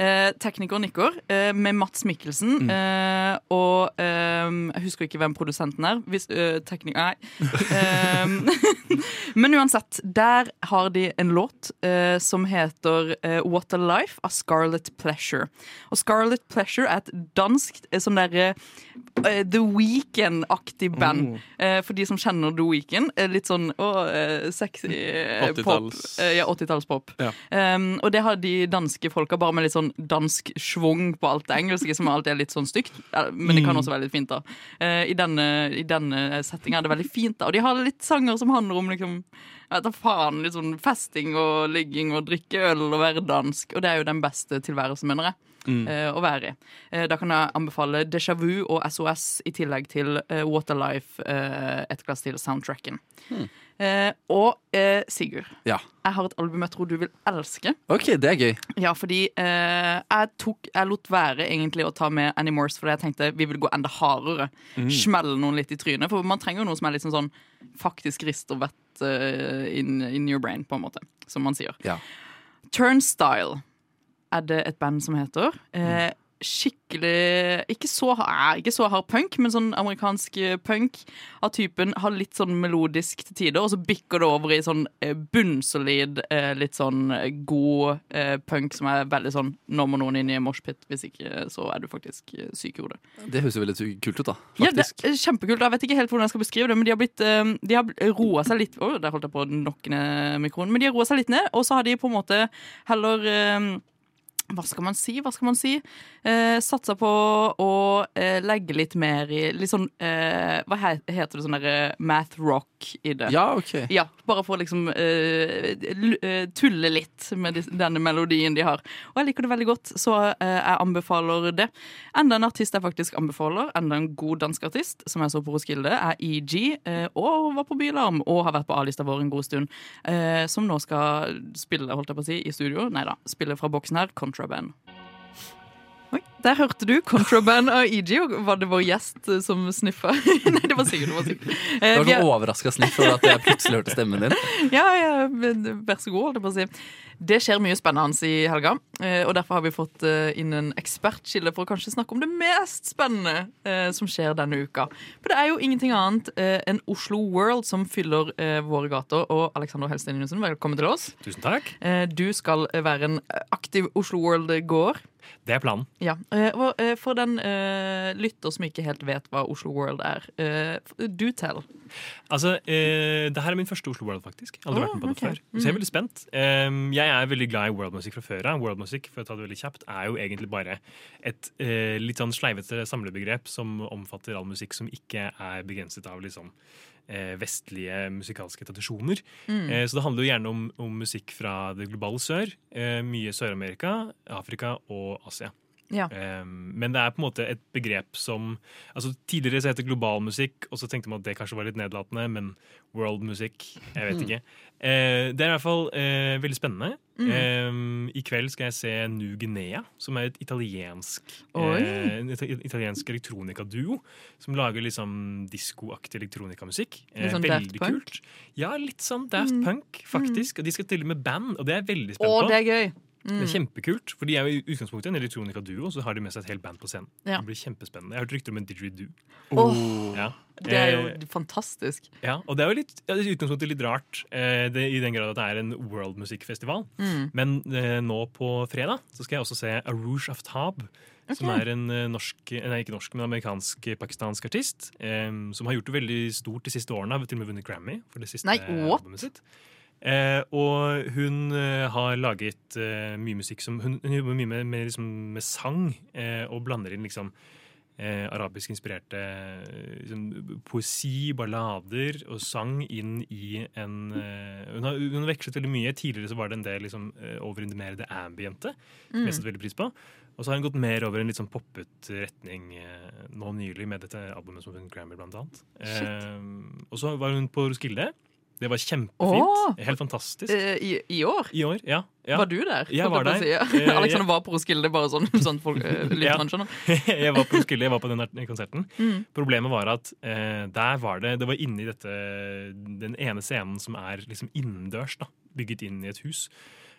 Speaker 3: Eh, tekniker nikker eh, med Mats Mikkelsen. Eh, og eh, jeg husker ikke hvem produsenten er. Hvis, eh, teknik nei. Eh, men uansett, der har de en låt eh, som heter eh, What a Life av Scarlet Pleasure. Og Scarlet Pleasure er et danskt eh, sånn derre eh, The Weekend-aktig band. Eh, for de som kjenner The Weekend. Eh, litt sånn å, eh, sexy eh, pop.
Speaker 5: 80-talls.
Speaker 3: Eh, ja, 80-tallspop.
Speaker 5: Ja.
Speaker 3: Um, og det har de danske folka, bare med litt sånn dansk schwung på alt det engelske, som alltid er litt sånn stygt. Eh, Men det kan også være litt fint, da. Eh, I denne, i denne settinga er det veldig fint, da. Og de har litt sanger som handler om liksom jeg vet da faen, litt sånn festing og ligging og drikke øl og være dansk. Og det er jo den beste tilværelsen, mener jeg. eh, Å være i. Eh, Da kan jeg anbefale Déjà Vu og SOS i tillegg til eh, Waterlife, eh, et glass til soundtracken. Eh, og eh, Sigurd,
Speaker 4: Ja.
Speaker 3: jeg har et album jeg tror du vil elske.
Speaker 4: OK, det er gøy.
Speaker 3: Ja, fordi eh, jeg, tok, jeg lot være egentlig å ta med Annie Morse fordi jeg tenkte vi vil gå enda hardere. Smelle noen litt i trynet. For man trenger jo noe som er litt sånn sånn faktisk rist og vett eh, in, in your brain, på en måte. Som man sier.
Speaker 4: Ja.
Speaker 3: Turnstyle er det et band som heter. Eh, skikkelig Ikke så, eh, ikke så hard punk, men sånn amerikansk eh, punk av typen har litt sånn melodisk til tider, og så bikker det over i sånn eh, bunnsolid, eh, litt sånn eh, god eh, punk som er veldig sånn Nå må noen inn i en moshpit, hvis ikke så er du faktisk eh, syk i hodet.
Speaker 4: Det høres jo veldig kult ut, da.
Speaker 3: Ja, det
Speaker 4: Faktisk.
Speaker 3: er kjempekult. Jeg vet ikke helt hvordan jeg skal beskrive det, men de har, blitt, eh, de har roa seg litt Å, der holdt jeg på å nokke ned mikroen. Men de har roa seg litt ned, og så har de på en måte heller eh, hva skal man si? hva skal man si? Eh, satsa på å eh, legge litt mer i Litt sånn eh, Hva he- heter det sånn derre math rock i det?
Speaker 4: Ja, ok.
Speaker 3: Ja, bare for å liksom eh, l- eh, tulle litt med dis- denne melodien de har. Og jeg liker det veldig godt, så eh, jeg anbefaler det. Enda en artist jeg faktisk anbefaler, enda en god dansk artist, som jeg så på Roskilde, er EG, eh, og var på Bylarm, og har vært på A-lista vår en god stund, eh, som nå skal spille, holdt jeg på å si, i studio. Nei da, spille fra boksen her, Contraband. Oi, Der hørte du Contraband av EG, og var det vår gjest eh, som sniffa? Nei, det var Sigurd. Det var Sigurd. Eh,
Speaker 4: Det var
Speaker 3: vi er-
Speaker 4: sånn overraska snitt over at jeg plutselig hørte stemmen din.
Speaker 3: ja, ja, men vær så god, holdt jeg på å si. Det skjer mye spennende i helga, eh, og derfor har vi fått eh, inn en ekspertskilde for å kanskje snakke om det mest spennende eh, som skjer denne uka. For det er jo ingenting annet eh, enn Oslo World som fyller eh, våre gater. Og Alexander Helstein Johnsen, velkommen til oss.
Speaker 10: Tusen takk.
Speaker 3: Eh, Du skal eh, være en aktiv Oslo World-gåer.
Speaker 10: Det er planen.
Speaker 3: Ja, eh, og eh, For den eh, lytter som ikke helt vet hva Oslo World er, eh, do tell.
Speaker 10: Altså, eh, Det her er min første Oslo World, faktisk. Jeg har Aldri
Speaker 3: Å,
Speaker 10: vært med på det
Speaker 3: ok. Mm.
Speaker 10: før. Så jeg er veldig spent. Em, jeg er veldig glad i worldmusikk fra før av. Worldmusikk for å ta det veldig kjapt, er jo egentlig bare et eh, litt sånn sleivete samlebegrep som omfatter all musikk som ikke er begrenset av liksom eh, vestlige musikalske tradisjoner.
Speaker 3: Mm.
Speaker 10: Eh, så det handler jo gjerne om, om musikk fra det globale sør. eh, mye Sør-Amerika, Afrika og Asia.
Speaker 3: Ja.
Speaker 10: Um, men det er på en måte et begrep som altså Tidligere så het det global musikk, og så tenkte man at det kanskje var litt nedlatende, men world musikk Jeg
Speaker 3: Mhm.
Speaker 10: vet ikke. Eh, det er i hvert fall eh, veldig spennende.
Speaker 3: Mhm.
Speaker 10: Um, I kveld skal jeg se Nu Guinea, som er et italiensk
Speaker 3: Oi.
Speaker 10: eh, en ita- italiensk elektronikaduo som lager liksom diskoaktig elektronikamusikk. Eh,
Speaker 3: Litt sånn Daft
Speaker 10: veldig
Speaker 3: Punk? Mhm.
Speaker 10: kult. Ja, litt sånn Daft Punk, faktisk. Og de skal stille med band, og det er jeg veldig
Speaker 3: Å,
Speaker 10: spent på.
Speaker 3: det er gøy!
Speaker 10: Det er
Speaker 3: Mm.
Speaker 10: kjempekult, for de er jo i utgangspunktet en elektronikaduo, og så har de med seg et helt band på scenen.
Speaker 3: Ja.
Speaker 10: Det blir kjempespennende. Jeg har hørt rykter om en didgeridoo.
Speaker 3: Åh,
Speaker 10: Ja.
Speaker 3: det er
Speaker 10: Eh,
Speaker 3: jo fantastisk.
Speaker 10: ja, og det er jo litt, ja, det er i utgangspunktet litt rart, eh, det, i den grad at det er en worldmusikkfestival.
Speaker 3: Mm.
Speaker 10: Men eh, nå på fredag så skal jeg også se A Rouge Aftab, som er en eh, norsk, eh, nei, ikke norsk, men amerikansk-pakistansk artist, eh, som har gjort det veldig stort de siste årene, har til og med vunnet Grammy for det siste
Speaker 3: Nei, what?
Speaker 10: albumet sitt. Eh, og hun eh, har laget eh, mye musikk som Hun, hun jobber mye med, med, liksom, med sang, eh, og blander inn liksom eh, arabisk inspirerte eh, liksom, poesi, ballader og sang inn i en eh, hun, har, hun har vekslet veldig mye. Tidligere så var det en del liksom, eh, over i det mer det ambiente. som Jeg setter veldig pris på. Og så har hun gått mer over i en litt sånn poppet retning eh, nå nylig med dette albumet som hun Grammy, blant annet. Eh, og så var hun på Roskilde. Det var
Speaker 3: Åh!
Speaker 10: kjempefint. Helt fantastisk.
Speaker 3: Eh, I, I år?
Speaker 10: I år, ja. ja.
Speaker 3: Var du der?
Speaker 10: Jeg var
Speaker 3: holdt på å
Speaker 10: der.
Speaker 3: Si.
Speaker 10: Eh, jeg-
Speaker 3: Alexander var på Roskilde, bare sånn, sånn folk eh,
Speaker 10: Ja.
Speaker 3: lytteren skjønner.
Speaker 10: jeg var på Roskilde, jeg var på den her konserten.
Speaker 3: Mm.
Speaker 10: Problemet var at eh, der var det Det var inni dette Den ene scenen som er liksom innendørs, da. Bygget inn i et hus.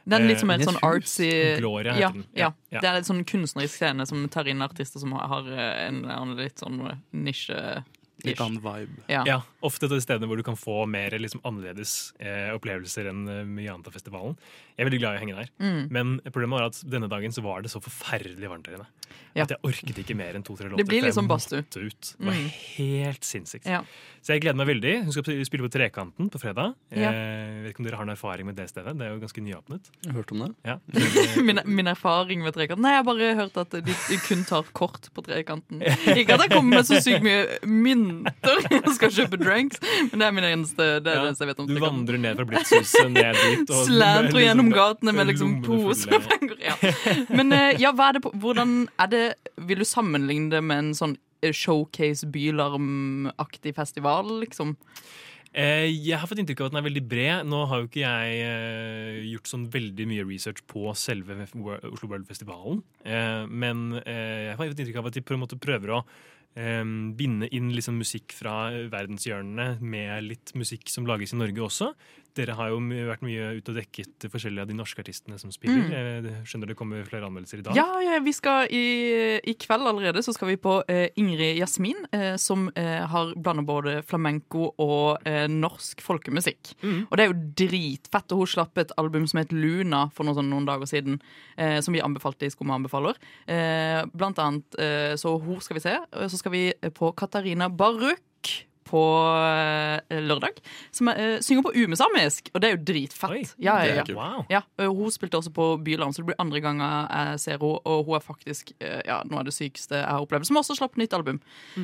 Speaker 3: Den er litt som
Speaker 10: Eh,
Speaker 3: en sånn artsy
Speaker 10: Gloria heter
Speaker 3: ja,
Speaker 10: den.
Speaker 3: ja.
Speaker 10: Ja, ja.
Speaker 3: Det er en sånn kunstnerisk scene som tar inn artister som har eh, en, en litt sånn nisje
Speaker 5: Litt annen vibe.
Speaker 3: Ja.
Speaker 10: Ja, ofte til stedene hvor du kan få mer liksom, annerledes eh, opplevelser enn eh, mye annet av festivalen. Jeg er veldig glad i å henge der.
Speaker 3: Mm.
Speaker 10: Men problemet var at denne dagen så var det så forferdelig varmt der inne.
Speaker 3: Ja.
Speaker 10: At jeg orket ikke mer enn to-tre låter.
Speaker 3: Det blir
Speaker 10: for jeg
Speaker 3: liksom badstue. Mm.
Speaker 10: måtte ut. Det var helt sinnssykt.
Speaker 3: Ja.
Speaker 10: Så jeg gleder meg veldig. Hun skal spille på Trekanten på fredag.
Speaker 3: Ja.
Speaker 10: Eh, vet ikke om dere har noen erfaring med det stedet. Det er jo ganske nyåpnet.
Speaker 4: Jeg har hørt om det.
Speaker 10: Ja.
Speaker 3: Min, min erfaring med trekanten Nei, jeg har bare hørt at de, de kun tar kort på trekanten. Ikke at jeg kommer med så sykt mye mynter og skal kjøpe drinks, men det er min eneste, det er det eneste jeg vet om
Speaker 10: du
Speaker 3: trekanten.
Speaker 10: vandrer ned fra Blitzhuset ned dit. og-
Speaker 3: Slantro gjennom
Speaker 10: liksom-
Speaker 3: gatene med liksom
Speaker 10: lommene
Speaker 3: poser.
Speaker 10: fulle.
Speaker 3: Ja. Men eh, ja, hva er det på, hvordan er det Vil du sammenligne det med en sånn eh, showcase bylarmaktig festival, liksom?
Speaker 10: Eh, Jeg har fått inntrykk av at den er veldig bred. Nå har jo ikke jeg eh, gjort sånn veldig mye research på selve F- Wor- Oslo World-festivalen, eh, men eh, jeg har fått inntrykk av at de på en måte prøver å eh, binde inn liksom musikk fra verdenshjørnene med litt musikk som lages i Norge også. Dere har jo my- vært mye ute og dekket forskjellige av de norske artistene som spiller. Eh, Skjønner det kommer flere anmeldelser i dag?
Speaker 3: Mm. Ja, ja, vi skal i, i kveld allerede så skal vi på eh, Ingrid Jasmin, eh, som eh, har blanda både flamenco og eh, norsk folkemusikk.
Speaker 10: Mm.
Speaker 3: Og det er jo dritfett. Og hun slapp et album som het Luna for noen, sånn, noen dager siden, eh, som vi anbefalte i Skumma anbefaler. Eh, blant annet, eh, så hun skal vi se. Og Så skal vi på Katarina Baruk. På eh, lørdag. Som eh, synger på umesamisk, og det er jo dritfett.
Speaker 10: Oi,
Speaker 3: ja, ja, ja.
Speaker 10: det er Wow.
Speaker 3: Ja, ø, Hun spilte også på Bylarm, så det blir andre ganger jeg ser henne. Og hun er faktisk ø, ja, noe av det sykeste jeg har opplevd, som også slapp nytt album.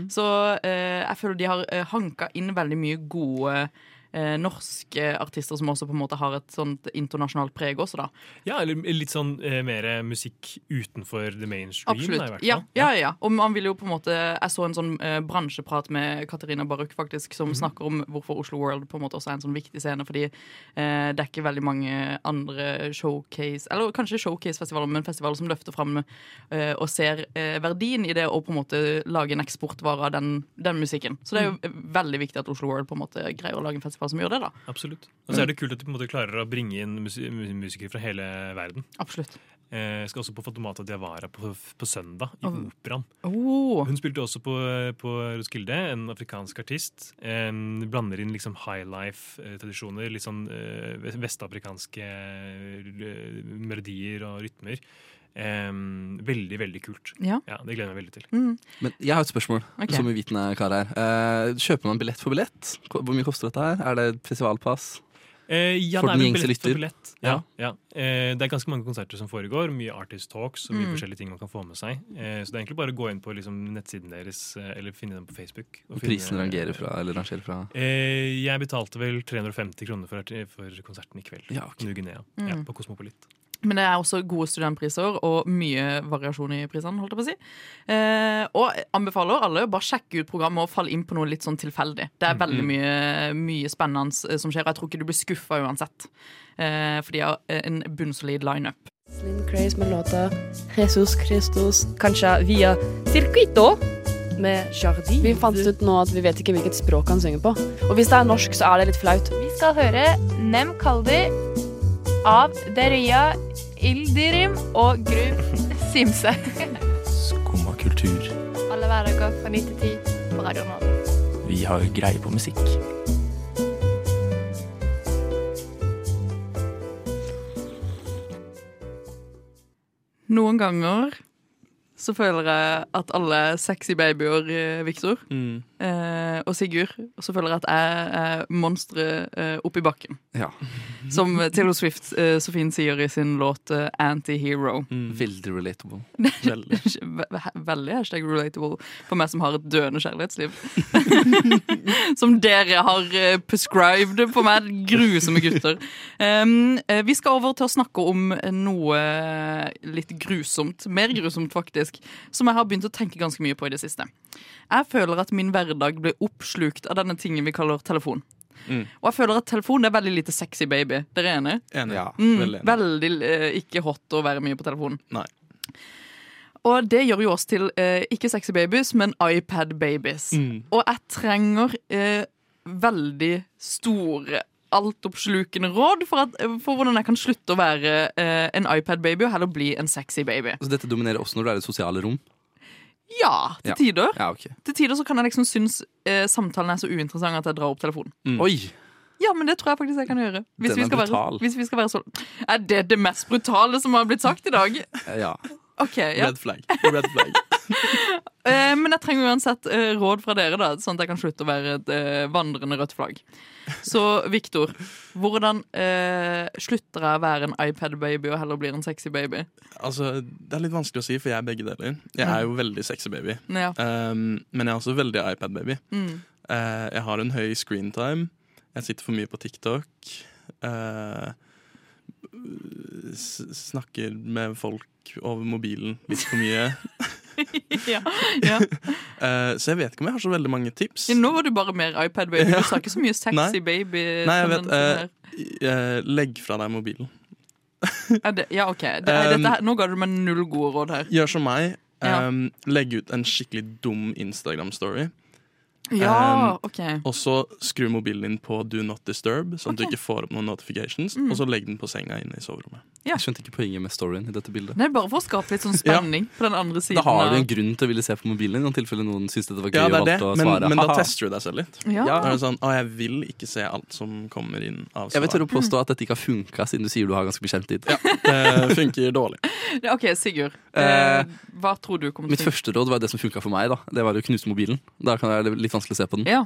Speaker 3: Så ø, jeg føler de har ø, hanka inn veldig mye gode ø, norske artister som også på en måte har et sånt internasjonalt preg også, da.
Speaker 10: Ja, eller litt sånn eh, mer musikk utenfor the mainstream. Da, i hvert
Speaker 3: Absolutt.
Speaker 10: fall.
Speaker 3: Ja, ja, ja. Og man vil jo på en måte Jeg så en sånn eh, bransjeprat med Katarina Baruk, faktisk,
Speaker 10: Mhm.
Speaker 3: som snakker om hvorfor Oslo World på en måte også er en sånn viktig scene, fordi eh, det er ikke veldig mange andre showcase Eller kanskje showcase-festivaler, men festivaler som løfter fram eh, og ser eh, verdien i det å på en måte lage en eksportvare av den, den musikken. Så det er jo eh,
Speaker 10: Mm.
Speaker 3: veldig viktig at Oslo World på en måte greier å lage en festival som gjør det, da.
Speaker 10: Absolutt. Og så er det kult at de på en måte klarer å bringe inn musi- mu- musikere fra hele verden.
Speaker 3: Absolutt.
Speaker 10: Eh, Jeg skal også på Fatomata Diawara på, på søndag, i
Speaker 3: Og-
Speaker 10: operaen.
Speaker 3: Oh.
Speaker 10: Hun spilte også på, på Roskilde, en afrikansk artist. Eh, blander inn liksom high life-tradisjoner, litt sånn eh, ve- vestafrikanske eh, melodier og rytmer. Eh, veldig, veldig kult.
Speaker 3: Ja.
Speaker 10: Det gleder jeg meg veldig til.
Speaker 4: Men jeg har et spørsmål.
Speaker 3: Ok.
Speaker 4: som uvitende kar her. Eh, kjøper man billett for billett? Ko- Hvor mye koster dette her? Er det festivalpass?
Speaker 10: Eh, ja,
Speaker 4: For
Speaker 10: det er
Speaker 4: den
Speaker 10: vel
Speaker 4: gjengse
Speaker 10: billett for
Speaker 4: lytter.
Speaker 10: billett. Ja, ja. Eh, det er ganske mange konserter som foregår. Mye artist talks
Speaker 11: Mm.
Speaker 10: og mye forskjellige ting man kan få med seg. Eh, så det er egentlig bare å gå inn på liksom, nettsiden deres, eh, eller finne dem på Facebook. og finne-
Speaker 4: Prisen rangerer fra, eller rangerer fra
Speaker 10: Eh, jeg betalte vel 350 kroner for, for konserten i kveld.
Speaker 4: Ja, ok.
Speaker 10: New Guinea. Ja,
Speaker 11: Mm.
Speaker 10: på Kosmopolit.
Speaker 3: Men det er også gode studentpriser og mye variasjon i prisene. holdt jeg på å si. Eh, og anbefaler alle å bare sjekke ut programmet og falle inn på noe litt sånn tilfeldig. Det er veldig mye, mye spennende s- som skjer, og jeg tror ikke du blir skuffa uansett. Eh, for de har en bunnsolid lineup.
Speaker 11: Slim Craze med låta Jesus Christus, kanskje via Circuito med Jardi. Vi fant ut nå at vi vet ikke hvilket språk han synger på. Og hvis det er norsk, så er det litt flaut.
Speaker 7: Vi skal høre Nem Kaldi av Deria Ildirim og Gru Simse.
Speaker 6: Skumma kultur.
Speaker 7: Alle hverdager fra 9 til 10 på Radio Nova.
Speaker 6: Vi har greie på musikk.
Speaker 3: Noen ganger så føler jeg at alle sexy babyer, eh, Victor
Speaker 5: Mm.
Speaker 3: eh, og Sigurd, så føler jeg at jeg er monsteret eh, oppi bakken.
Speaker 4: Ja.
Speaker 3: Som Taylor Swift eh, så fint sier i sin låt eh, 'Anti-Hero'.
Speaker 4: Veldig relatable.
Speaker 5: Veldig.
Speaker 3: Ve- ve- Veldig hashtag relatable for meg som har et døende kjærlighetsliv. som dere har eh, prescribed på meg. Grusomme gutter. Um, eh, vi skal over til å snakke om eh, noe litt grusomt. Mer grusomt, faktisk. Som jeg har begynt å tenke ganske mye på i det siste. Jeg føler at min hverdag blir oppslukt av denne tingen vi kaller telefon.
Speaker 5: Mm.
Speaker 3: Og jeg føler at telefon er veldig lite sexy baby. Dere er enig?
Speaker 5: Enig. Mm.
Speaker 4: Ja.
Speaker 5: Veldig enig.
Speaker 3: Veldig eh, ikke hot å være mye på telefonen.
Speaker 5: Nei.
Speaker 3: Og det gjør jo oss til eh, ikke sexy babies, men
Speaker 4: Mm.
Speaker 3: iPad babies. Og jeg trenger eh, veldig store altoppslukende råd for, at, for hvordan jeg kan slutte å være eh, en iPad-baby og heller bli en sexy baby.
Speaker 4: Så dette dominerer også når du er i sosiale rom?
Speaker 3: Ja, til
Speaker 4: Ja.
Speaker 3: tider.
Speaker 4: Ja, ok.
Speaker 3: Til tider så kan jeg liksom synes eh, samtalen er så uinteressant at jeg drar opp telefonen.
Speaker 4: Oi!
Speaker 3: Ja, men det tror jeg faktisk jeg kan gjøre. Hvis
Speaker 4: Den
Speaker 3: vi
Speaker 4: er
Speaker 3: skal være,
Speaker 4: brutal.
Speaker 3: hvis vi skal være så Er det det mest brutale som har blitt sagt i dag?
Speaker 4: Eh, Ja.
Speaker 3: Ok, ja.
Speaker 5: Red flag. Red flag.
Speaker 3: Eh, men jeg trenger uansett eh, råd fra dere, da, sånn at jeg kan slutte å være et eh, vandrende rødt flagg. Så Viktor, hvordan eh, slutter jeg å være en iPad-baby og heller blir en sexy baby?
Speaker 5: Altså, Det er litt vanskelig å si, for jeg er begge deler. Jeg
Speaker 3: Ja.
Speaker 5: er jo veldig sexy baby.
Speaker 3: Ja.
Speaker 5: Um, men jeg er også veldig iPad-baby.
Speaker 3: Mm.
Speaker 5: Eh, jeg har en høy screentime. Jeg sitter for mye på TikTok. eh, s snakker med folk over mobilen litt for mye.
Speaker 3: ja, ja.
Speaker 5: Eh, så jeg vet ikke om jeg har så veldig mange tips.
Speaker 3: Nå var du bare mer iPad-baby. Du sa ikke så mye sexy
Speaker 5: Nei.
Speaker 3: baby.
Speaker 5: Nei, jeg vet
Speaker 3: tendenser
Speaker 5: eh, eh, Legg fra deg mobilen.
Speaker 3: her. er det, ja, OK. Det, er,
Speaker 5: Um,
Speaker 3: dette, her- nå ga du meg null gode råd her.
Speaker 5: Gjør som meg.
Speaker 3: Ja.
Speaker 5: Um, legg ut en skikkelig dum Instagram-story.
Speaker 3: Ja,
Speaker 5: um,
Speaker 3: OK.
Speaker 5: Og så skru mobilen din på Do Not Disturb, sånn at du ikke får opp noen notifications.
Speaker 3: Mm.
Speaker 5: Og så legg den på senga inne i soverommet.
Speaker 3: Ja.
Speaker 4: Jeg skjønte ikke poenget med storyen i dette bildet.
Speaker 3: Nei, bare for å skape litt sånn spenning på den andre siden.
Speaker 4: Da har du
Speaker 3: av-
Speaker 4: en grunn til å ville se på mobilen din, i tilfelle noen syntes dette var gøy
Speaker 5: Ja, det
Speaker 4: og
Speaker 5: er det,
Speaker 4: valgte å
Speaker 5: men,
Speaker 4: svare.
Speaker 5: men da
Speaker 4: Haha.
Speaker 5: tester du deg selv litt.
Speaker 3: Ja.
Speaker 5: Da er det sånn, å, jeg vil ikke se alt som kommer inn av
Speaker 4: Jeg vil
Speaker 5: svar.
Speaker 4: tørre å påstå at dette ikke har funka, siden du sier du har ganske beskjemt tid.
Speaker 5: Det Eh, funker dårlig.
Speaker 3: Ja, OK, Sigurd.
Speaker 4: Eh,
Speaker 3: eh, hva tror du kommer
Speaker 4: Mitt
Speaker 3: til
Speaker 4: første råd var det som funka for meg. da Det var å knuse mobilen. Da kan jeg det er litt vanskelig å se på den.
Speaker 3: Ja.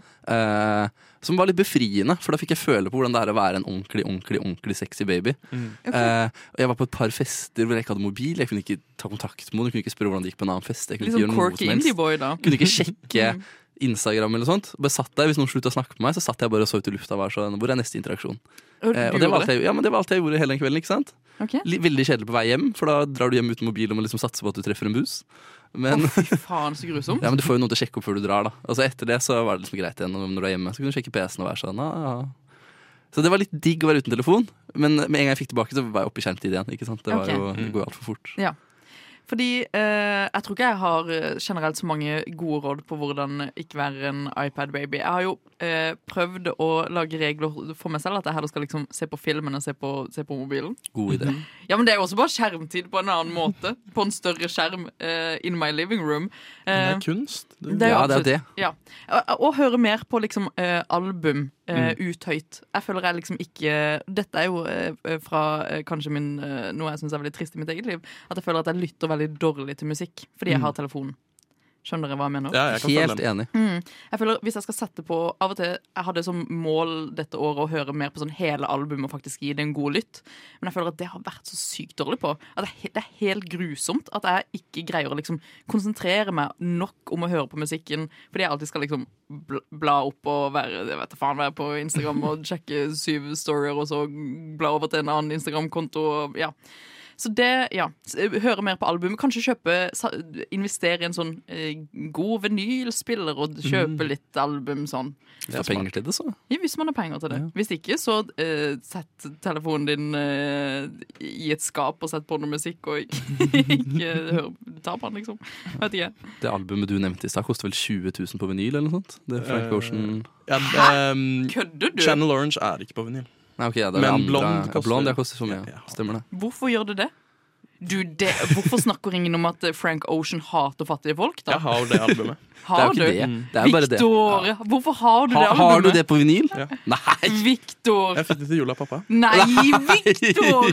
Speaker 4: Eh, som var litt befriende, for da fikk jeg føle på hvordan det er å være en ordentlig ordentlig, ordentlig sexy baby.
Speaker 5: Mm.
Speaker 3: Ok.
Speaker 4: Eh, og jeg var på et par fester hvor jeg ikke hadde mobil. Jeg kunne ikke ta kontakt med noen, jeg kunne ikke spørre hvordan det gikk på en annen fest. Jeg kunne
Speaker 3: Litt sånn
Speaker 4: ikke gjøre noe
Speaker 3: quirky
Speaker 4: som helst.
Speaker 3: indieboy, da.
Speaker 4: Kunne ikke sjekke
Speaker 5: Mm.
Speaker 4: Instagram eller sånt. Bare satt der, Hvis noen slutta å snakke med meg, så satt jeg bare og så ut i lufta. og Var sånn, hvor er neste interaksjon?
Speaker 3: Og du
Speaker 4: Eh, og det var,
Speaker 3: gjorde
Speaker 4: alt jeg, ja, men det var alt jeg gjorde hele den kvelden. ikke sant?
Speaker 3: Ok.
Speaker 4: Li- Veldig kjedelig på vei hjem, for da drar du hjem uten mobil og må liksom satse på at du treffer en bus. Men,
Speaker 3: Å, fy faen, så grusomt.
Speaker 4: ja, men du får jo noe til å sjekke opp før du drar. da Altså Etter det så var det liksom greit igjen og når du er hjemme. Så kunne du sjekke PC-en og være sånn. Ah, ah. Så det var litt digg å være uten telefon, men med en gang jeg fikk tilbake, så var jeg oppe i skjermtid igjen. ikke sant? Det, var
Speaker 3: Ok.
Speaker 4: jo, det går jo altfor fort.
Speaker 3: Ja. Fordi eh, jeg tror ikke jeg har eh, generelt så mange gode råd på hvordan ikke være en iPad-baby. Jeg har jo eh, prøvd å lage regler for meg selv, at jeg heller skal liksom se på filmen og se på, se på mobilen.
Speaker 4: God idé.
Speaker 3: Ja, men det er jo også bare skjermtid på en annen måte. På en større skjerm eh, in my living room.
Speaker 5: Men det
Speaker 3: Eh,
Speaker 5: er kunst.
Speaker 3: Det er jo
Speaker 4: Ja, det er
Speaker 3: absolutt-
Speaker 4: det.
Speaker 3: Ja. Og, og høre mer på liksom eh, album eh, ut høyt. Jeg føler jeg liksom ikke Dette er jo eh, fra eh, kanskje min eh, noe jeg syns er veldig trist i mitt eget liv. At jeg føler at jeg lytter veldig dårlig til musikk fordi jeg har telefonen. Skjønner dere hva jeg mener?
Speaker 5: Ja, jeg kan følge
Speaker 4: Helt
Speaker 5: den.
Speaker 4: enig.
Speaker 3: Mm. Jeg føler Hvis jeg skal sette på Av og til Jeg hadde som mål dette året å høre mer på sånn hele album og faktisk gi det en god lytt. Men jeg føler at det har vært så sykt dårlig på. At det er he- det er helt grusomt at jeg ikke greier å liksom konsentrere meg nok om å høre på musikken. Fordi jeg alltid skal liksom bl- bla opp og være jeg vet da faen, være på Instagram og sjekke syv storyer, og så bla over til en annen Instagram-konto. og- Ja. Så det, ja. S- eh, Høre mer på album. Kanskje kjøpe sa- Investere i en sånn eh, god vinylspiller og kjøpe
Speaker 4: Mm.
Speaker 3: litt album sånn.
Speaker 4: Hvis du har penger til det, så.
Speaker 3: Ja, hvis man har penger til det. Hvis ikke, så eh, sett telefonen din eh, i et skap og sett på noe musikk, og ikke, ikke hør, ta på den, liksom. Vet ikke.
Speaker 4: Det albumet du nevnte i stad, koster vel 20 000 på vinyl eller noe sånt? Det er Frank
Speaker 5: Eh,
Speaker 4: Ocean
Speaker 5: Ja, ehm,
Speaker 3: Kødder du?
Speaker 5: Channel Orange er ikke på vinyl.
Speaker 4: Nei, ok, ja, det er
Speaker 5: Men
Speaker 4: det andre-
Speaker 5: Blond
Speaker 4: ja,
Speaker 5: koster-
Speaker 4: blond, ja, koster så mye.
Speaker 5: Ja, ja.
Speaker 4: Stemmer det.
Speaker 3: Hvorfor gjør det det? Du, det, hvorfor snakker ingen om at eh, Frank Ocean hater fattige folk, da?
Speaker 5: Jeg har det albumet.
Speaker 3: Har
Speaker 4: det er jo ikke
Speaker 3: du?
Speaker 4: det. Det er jo bare det.
Speaker 3: Victor, hvorfor har du det
Speaker 4: Ha,
Speaker 3: albumet?
Speaker 4: har du det på vinyl?
Speaker 5: Ja.
Speaker 4: Nei!
Speaker 3: Victor!
Speaker 5: Jeg fikk det til jul av pappa.
Speaker 3: Nei, Victor!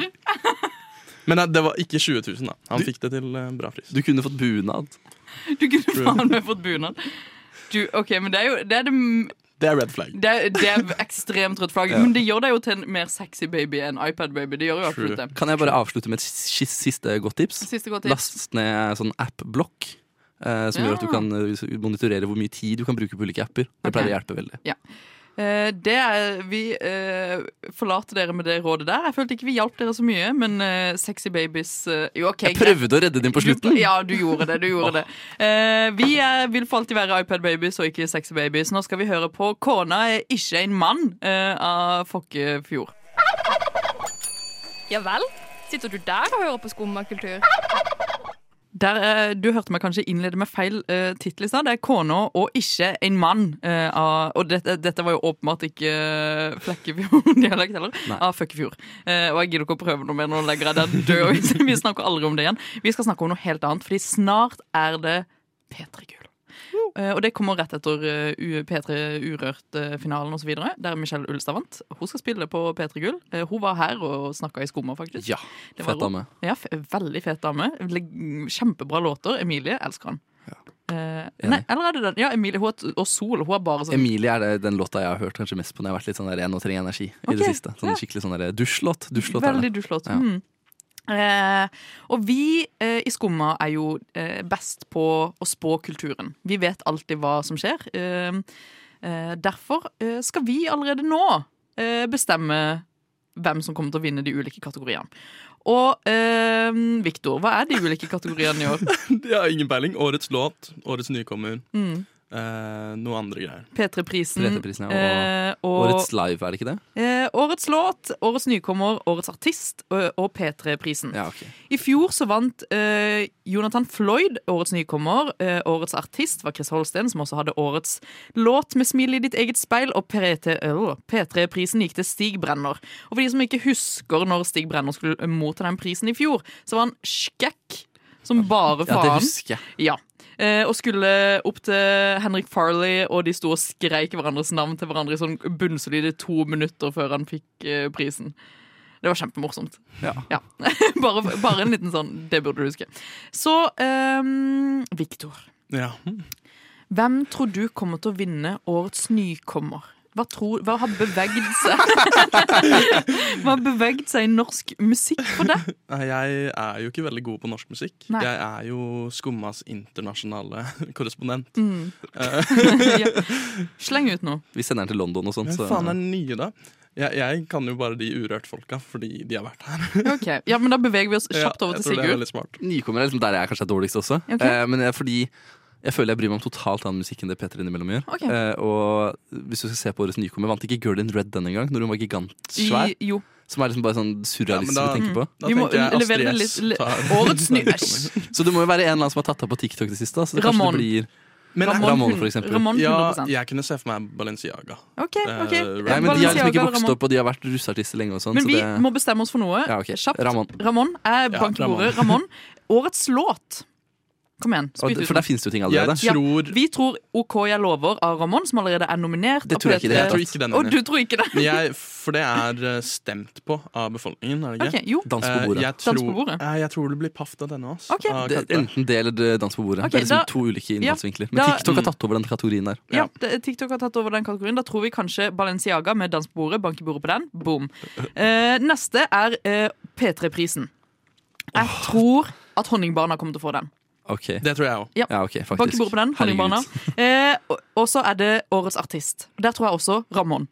Speaker 5: Men nei, det var ikke 20 000, da. Han fikk det til eh, bra pris.
Speaker 4: Du kunne fått bunad.
Speaker 3: Du kunne faen meg fått bunad. Du, ok, men Det er jo det er, det,
Speaker 5: Det er red flag.
Speaker 3: det er, det er ekstremt rødt flagg, men det gjør deg jo til en mer sexy baby enn iPad-baby. Det gjør jo absolutt det.
Speaker 4: Kan jeg bare avslutte med et siste, siste godt tips?
Speaker 3: Siste godt tips.
Speaker 4: Last ned sånn app-blokk. eh, som gjør at du
Speaker 3: Ja.
Speaker 4: kan eh, monitorere hvor mye tid du kan bruke på ulike apper. Det
Speaker 3: Ok.
Speaker 4: pleier å hjelpe veldig.
Speaker 3: Eh, det er, vi eh, forlater dere med det rådet der. Jeg følte ikke vi hjalp dere så mye, men eh, sexy babies eh, Jo, OK.
Speaker 4: Jeg prøvde å redde din på
Speaker 3: Du,
Speaker 4: slutten.
Speaker 3: ja, du gjorde det. du gjorde det Eh, Vi er, vil for alltid være iPad-babies og ikke sexy babies. Nå skal vi høre på 'Kona er ikke en mann' eh, av Fokkefjord.
Speaker 7: Ja vel? Sitter du der og hører på skummakultur?
Speaker 3: Der, eh, du hørte meg kanskje innlede med feil eh, tittel i stad. Det er 'Kona og ikke en mann'. Eh, av, og dette, dette var jo åpenbart ikke eh, Flekkefjord-dialekt heller.
Speaker 12: Nei.
Speaker 3: Av Føkkefjord. Eh, og jeg gidder ikke å prøve noe mer, nå legger jeg den død. og vi- Vi snakker aldri om det igjen. Vi skal snakke om noe helt annet, fordi snart er det P3 Gull. Eh, og det kommer rett etter eh, U- P3 eh, Urørt-finalen osv., der Michelle Ulstad vant. Hun skal spille på P3 Gull. Eh, hun var her og snakka i skumma, faktisk.
Speaker 4: Ja,
Speaker 3: Det var
Speaker 4: fet
Speaker 3: ro-
Speaker 4: dame.
Speaker 3: Ja, f veldig fet dame. Le- Kjempebra låter. Emilie elsker han. Eh, nei, eller er det den? Ja, Emilie hun er, og Sol. Hun er bare sånn
Speaker 4: Emilie er det- den låta jeg har hørt kanskje mest på når jeg har vært litt sånn der en og tre energi i det
Speaker 3: Ok,
Speaker 4: siste. Sånn
Speaker 3: ja.
Speaker 4: Skikkelig sånn der dusjlåt. dusjlåt er
Speaker 3: Veldig
Speaker 4: det.
Speaker 3: dusjlåt.
Speaker 4: Ja.
Speaker 3: Mm. Eh, og vi eh, i Skumma er jo eh, best på å spå kulturen. Vi vet alltid hva som skjer. Eh, eh, derfor eh, skal vi allerede nå eh, bestemme hvem som kommer til å vinne de ulike kategoriene. Og eh, Victor, hva er de ulike kategoriene i år?
Speaker 5: Jeg har ingen peiling. Årets låt, årets nykommer,
Speaker 3: Mm.
Speaker 5: eh, noe andre greier.
Speaker 3: P3-prisen.
Speaker 4: P3-prisen, ja,
Speaker 3: eh,
Speaker 4: og, Årets live, er det ikke det?
Speaker 3: Eh, årets låt, årets nykommer, årets artist ø, og P3-prisen.
Speaker 4: Ja, ok.
Speaker 3: I fjor så vant eh, Jonathan Floyd årets nykommer. Eh, årets artist var Chris Holsten, som også hadde årets låt med 'Smil i ditt eget speil'. Og P3 øh, P3-prisen gikk til Stig Brenner. Og for de som ikke husker når Stig Brenner skulle eh, motta den prisen i fjor, så var han skekk som bare
Speaker 4: Ja,
Speaker 3: faen.
Speaker 4: det husker jeg.
Speaker 3: Ja. Eh, og skulle opp til Henrik Farley, og de sto og skreik hverandres navn til hverandre i sånn bunnsolide to minutter før han fikk eh, prisen. Det var kjempemorsomt.
Speaker 4: Ja.
Speaker 3: bare, bare en liten sånn Det burde du huske. Så ehm, Victor,
Speaker 5: Ja.
Speaker 3: hvem tror du kommer til å vinne årets nykommer? Hva, tror, hva har bevegd seg Hva har bevegd seg i norsk musikk for deg?
Speaker 5: Nei, Jeg er jo ikke veldig god på norsk musikk.
Speaker 3: Nei.
Speaker 5: Jeg er jo Skummas internasjonale korrespondent.
Speaker 3: Mm.
Speaker 5: Eh,
Speaker 3: ja. Sleng ut noe.
Speaker 4: Vi sender den til London og sånt.
Speaker 5: Hvem
Speaker 4: så-
Speaker 5: faen er den nye, da? Jeg, jeg kan jo bare de urørt-folka, fordi de har vært her.
Speaker 3: Ok, Ja, men da beveger vi oss kjapt
Speaker 5: Ja,
Speaker 3: over
Speaker 5: jeg
Speaker 3: til
Speaker 5: tror det er
Speaker 3: Sigurd.
Speaker 5: veldig smart.
Speaker 4: Nykommer er liksom der jeg kanskje er dårligst også.
Speaker 3: Ok.
Speaker 4: Eh, men jeg, fordi jeg føler jeg bryr meg om totalt annen musikk enn det Petter innimellom gjør.
Speaker 3: Ok.
Speaker 4: Eh, og hvis du skal se på årets nykommer, vant ikke Girl in Red denne gang, når hun var gigantsvær?
Speaker 3: I- jo.
Speaker 4: Som er liksom bare sånn surrealistisk å
Speaker 5: Ja, men da-
Speaker 4: tenke på.
Speaker 5: mm, da Vi må tenker jeg Astrid levere S
Speaker 3: litt- tar- årets ny-
Speaker 4: Så det må jo være en eller annen som har tatt av på TikTok det siste. Da. Så det kanskje
Speaker 3: Ramon.
Speaker 4: det blir
Speaker 3: Men-
Speaker 4: Ramon,
Speaker 3: Ramon,
Speaker 4: for eksempel.
Speaker 3: Ramon,
Speaker 5: Ja,
Speaker 3: 100%.
Speaker 5: jeg kunne se for meg Balenciaga.
Speaker 3: Ok, ok.
Speaker 5: Eh,
Speaker 3: Nei,
Speaker 4: Nei, men De har liksom
Speaker 3: Balenciaga
Speaker 4: ikke
Speaker 3: eller
Speaker 4: vokst
Speaker 3: Ramon?
Speaker 4: opp, og de har vært russeartister lenge. og sånn
Speaker 3: Men
Speaker 4: så
Speaker 3: vi
Speaker 4: det...
Speaker 3: må bestemme oss for noe.
Speaker 4: Ja, ok.
Speaker 3: Kjapt.
Speaker 4: Ramon.
Speaker 3: Ramon er bank på
Speaker 4: Ramon.
Speaker 3: bordet. Ramon. Årets låt. Kom igjen.
Speaker 4: Og
Speaker 3: spytt
Speaker 4: det-
Speaker 3: ut
Speaker 4: for der
Speaker 3: noe.
Speaker 4: finnes det jo ting allerede. Jeg
Speaker 3: Ja,
Speaker 4: tror-
Speaker 3: vi tror OK jeg lover av Ramon, som allerede er nominert.
Speaker 5: Det
Speaker 3: av
Speaker 5: tror jeg ikke i
Speaker 3: P3.
Speaker 5: det hele tatt. Jeg tror ikke den er
Speaker 3: Og
Speaker 5: med.
Speaker 3: du tror ikke det?
Speaker 5: Men jeg, for det er eh, stemt på av befolkningen, er det ikke?
Speaker 3: Ok, jo. Dans på
Speaker 5: Eh,
Speaker 4: bordet.
Speaker 5: Jeg tror,
Speaker 4: Dans på bordet.
Speaker 5: Nei, jeg tror det blir paff av denne. ass.
Speaker 3: Ok.
Speaker 5: Av
Speaker 4: Det,
Speaker 5: Karte.
Speaker 4: enten det eller det Dans på bordet.
Speaker 3: Ok,
Speaker 4: det er liksom
Speaker 3: da-
Speaker 4: to ulike
Speaker 3: ja,
Speaker 4: innfallsvinkler.
Speaker 3: da-
Speaker 4: Men TikTok
Speaker 5: Mm.
Speaker 4: har tatt over den kategorien der.
Speaker 3: Ja, det- TikTok har tatt over den kategorien. Da tror vi kanskje Balenciaga med dans på bordet. Bank i bordet på den. Boom. Eh, neste er eh, P3-prisen. Jeg tror at Honningbarna kommer til å få den.
Speaker 5: Det tror jeg òg.
Speaker 3: Ja.
Speaker 4: ok, faktisk.
Speaker 3: Bank i bordet på den. Honningbarna. Eh, og- og så er det Årets artist. Der tror jeg også Ramón.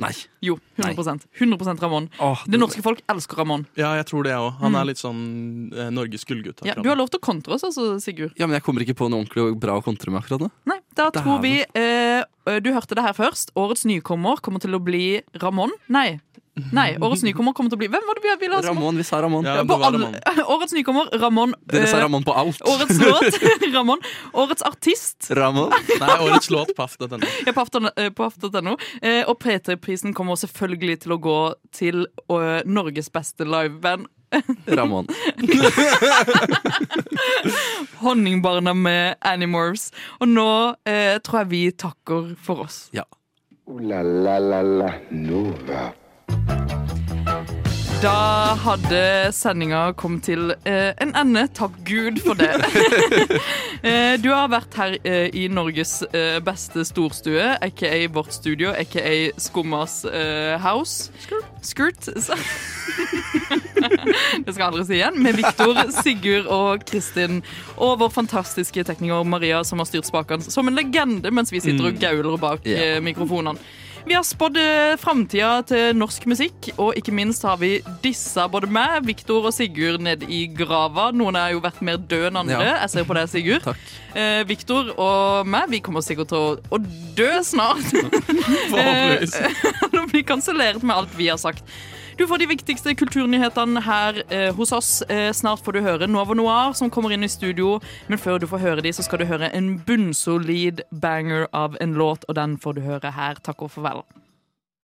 Speaker 4: Nei.
Speaker 3: Jo, 100 100 Ramón. det norske folk elsker Ramón.
Speaker 5: Ja, jeg tror det òg. Han
Speaker 3: Mm.
Speaker 5: er litt sånn eh, Norges gullgutt.
Speaker 3: Ja,
Speaker 5: akkurat
Speaker 3: du har
Speaker 5: nå.
Speaker 3: lov til å kontre oss, altså, Sigurd.
Speaker 4: Ja, men jeg kommer ikke på noe ordentlig og bra å kontre med akkurat nå.
Speaker 3: Nei, da tror vi eh, Du hørte det her først. Årets nykommer kommer til å bli Ramón. Nei. Nei, Årets nykommer kommer til å bli Hvem var det vi ville ha som-
Speaker 4: Ramon, vi sa Ramon.
Speaker 3: Ja, på alle- Årets nykommer, Ramón.
Speaker 4: Dere sa
Speaker 3: Eh,
Speaker 4: Ramon på alt.
Speaker 3: Årets låt, Ramón. Årets artist,
Speaker 4: Ramon?
Speaker 5: Nei, årets låt paff av denne.
Speaker 3: Ja, på aften- eh, på aften.no. Eh, Og P3-prisen kommer selvfølgelig til å gå til eh, Norges beste liveband.
Speaker 4: Ramon.
Speaker 3: Honningbarna med Animorphs. Og nå eh, tror jeg vi takker for oss.
Speaker 2: Ooh la la la la Nova.
Speaker 3: Da hadde sendinga kommet til eh, en ende. Takk Gud for det. eh, du har vært her eh, i Norges eh, beste storstue, aka vårt studio, aka Skummas eh, house. Skurt. sa- det skal jeg aldri si igjen. Med Viktor, Sigurd og Kristin. Og vår fantastiske tekniker Maria, som har styrt spakene som en legende mens vi sitter og
Speaker 12: Mm.
Speaker 3: gauler bak
Speaker 12: Ja.
Speaker 3: eh, mikrofonene. Vi har spådd eh, framtida til norsk musikk, og ikke minst har vi dissa både meg, Viktor og Sigurd ned i grava. Noen har jo vært mer død enn andre.
Speaker 12: Ja.
Speaker 3: Jeg ser på deg, Sigurd. Eh, Viktor og meg, vi kommer sikkert til å, å dø snart.
Speaker 12: Forhåpentligvis.
Speaker 3: Eh, Når vi blir kansellert med alt vi har sagt. Du får de viktigste kulturnyhetene her eh, hos oss. Eh, snart får du høre Nova Noir som kommer inn i studio. Men før du får høre de, så skal du høre en bunnsolid banger av en låt, og den får du høre her. Takk og farvel.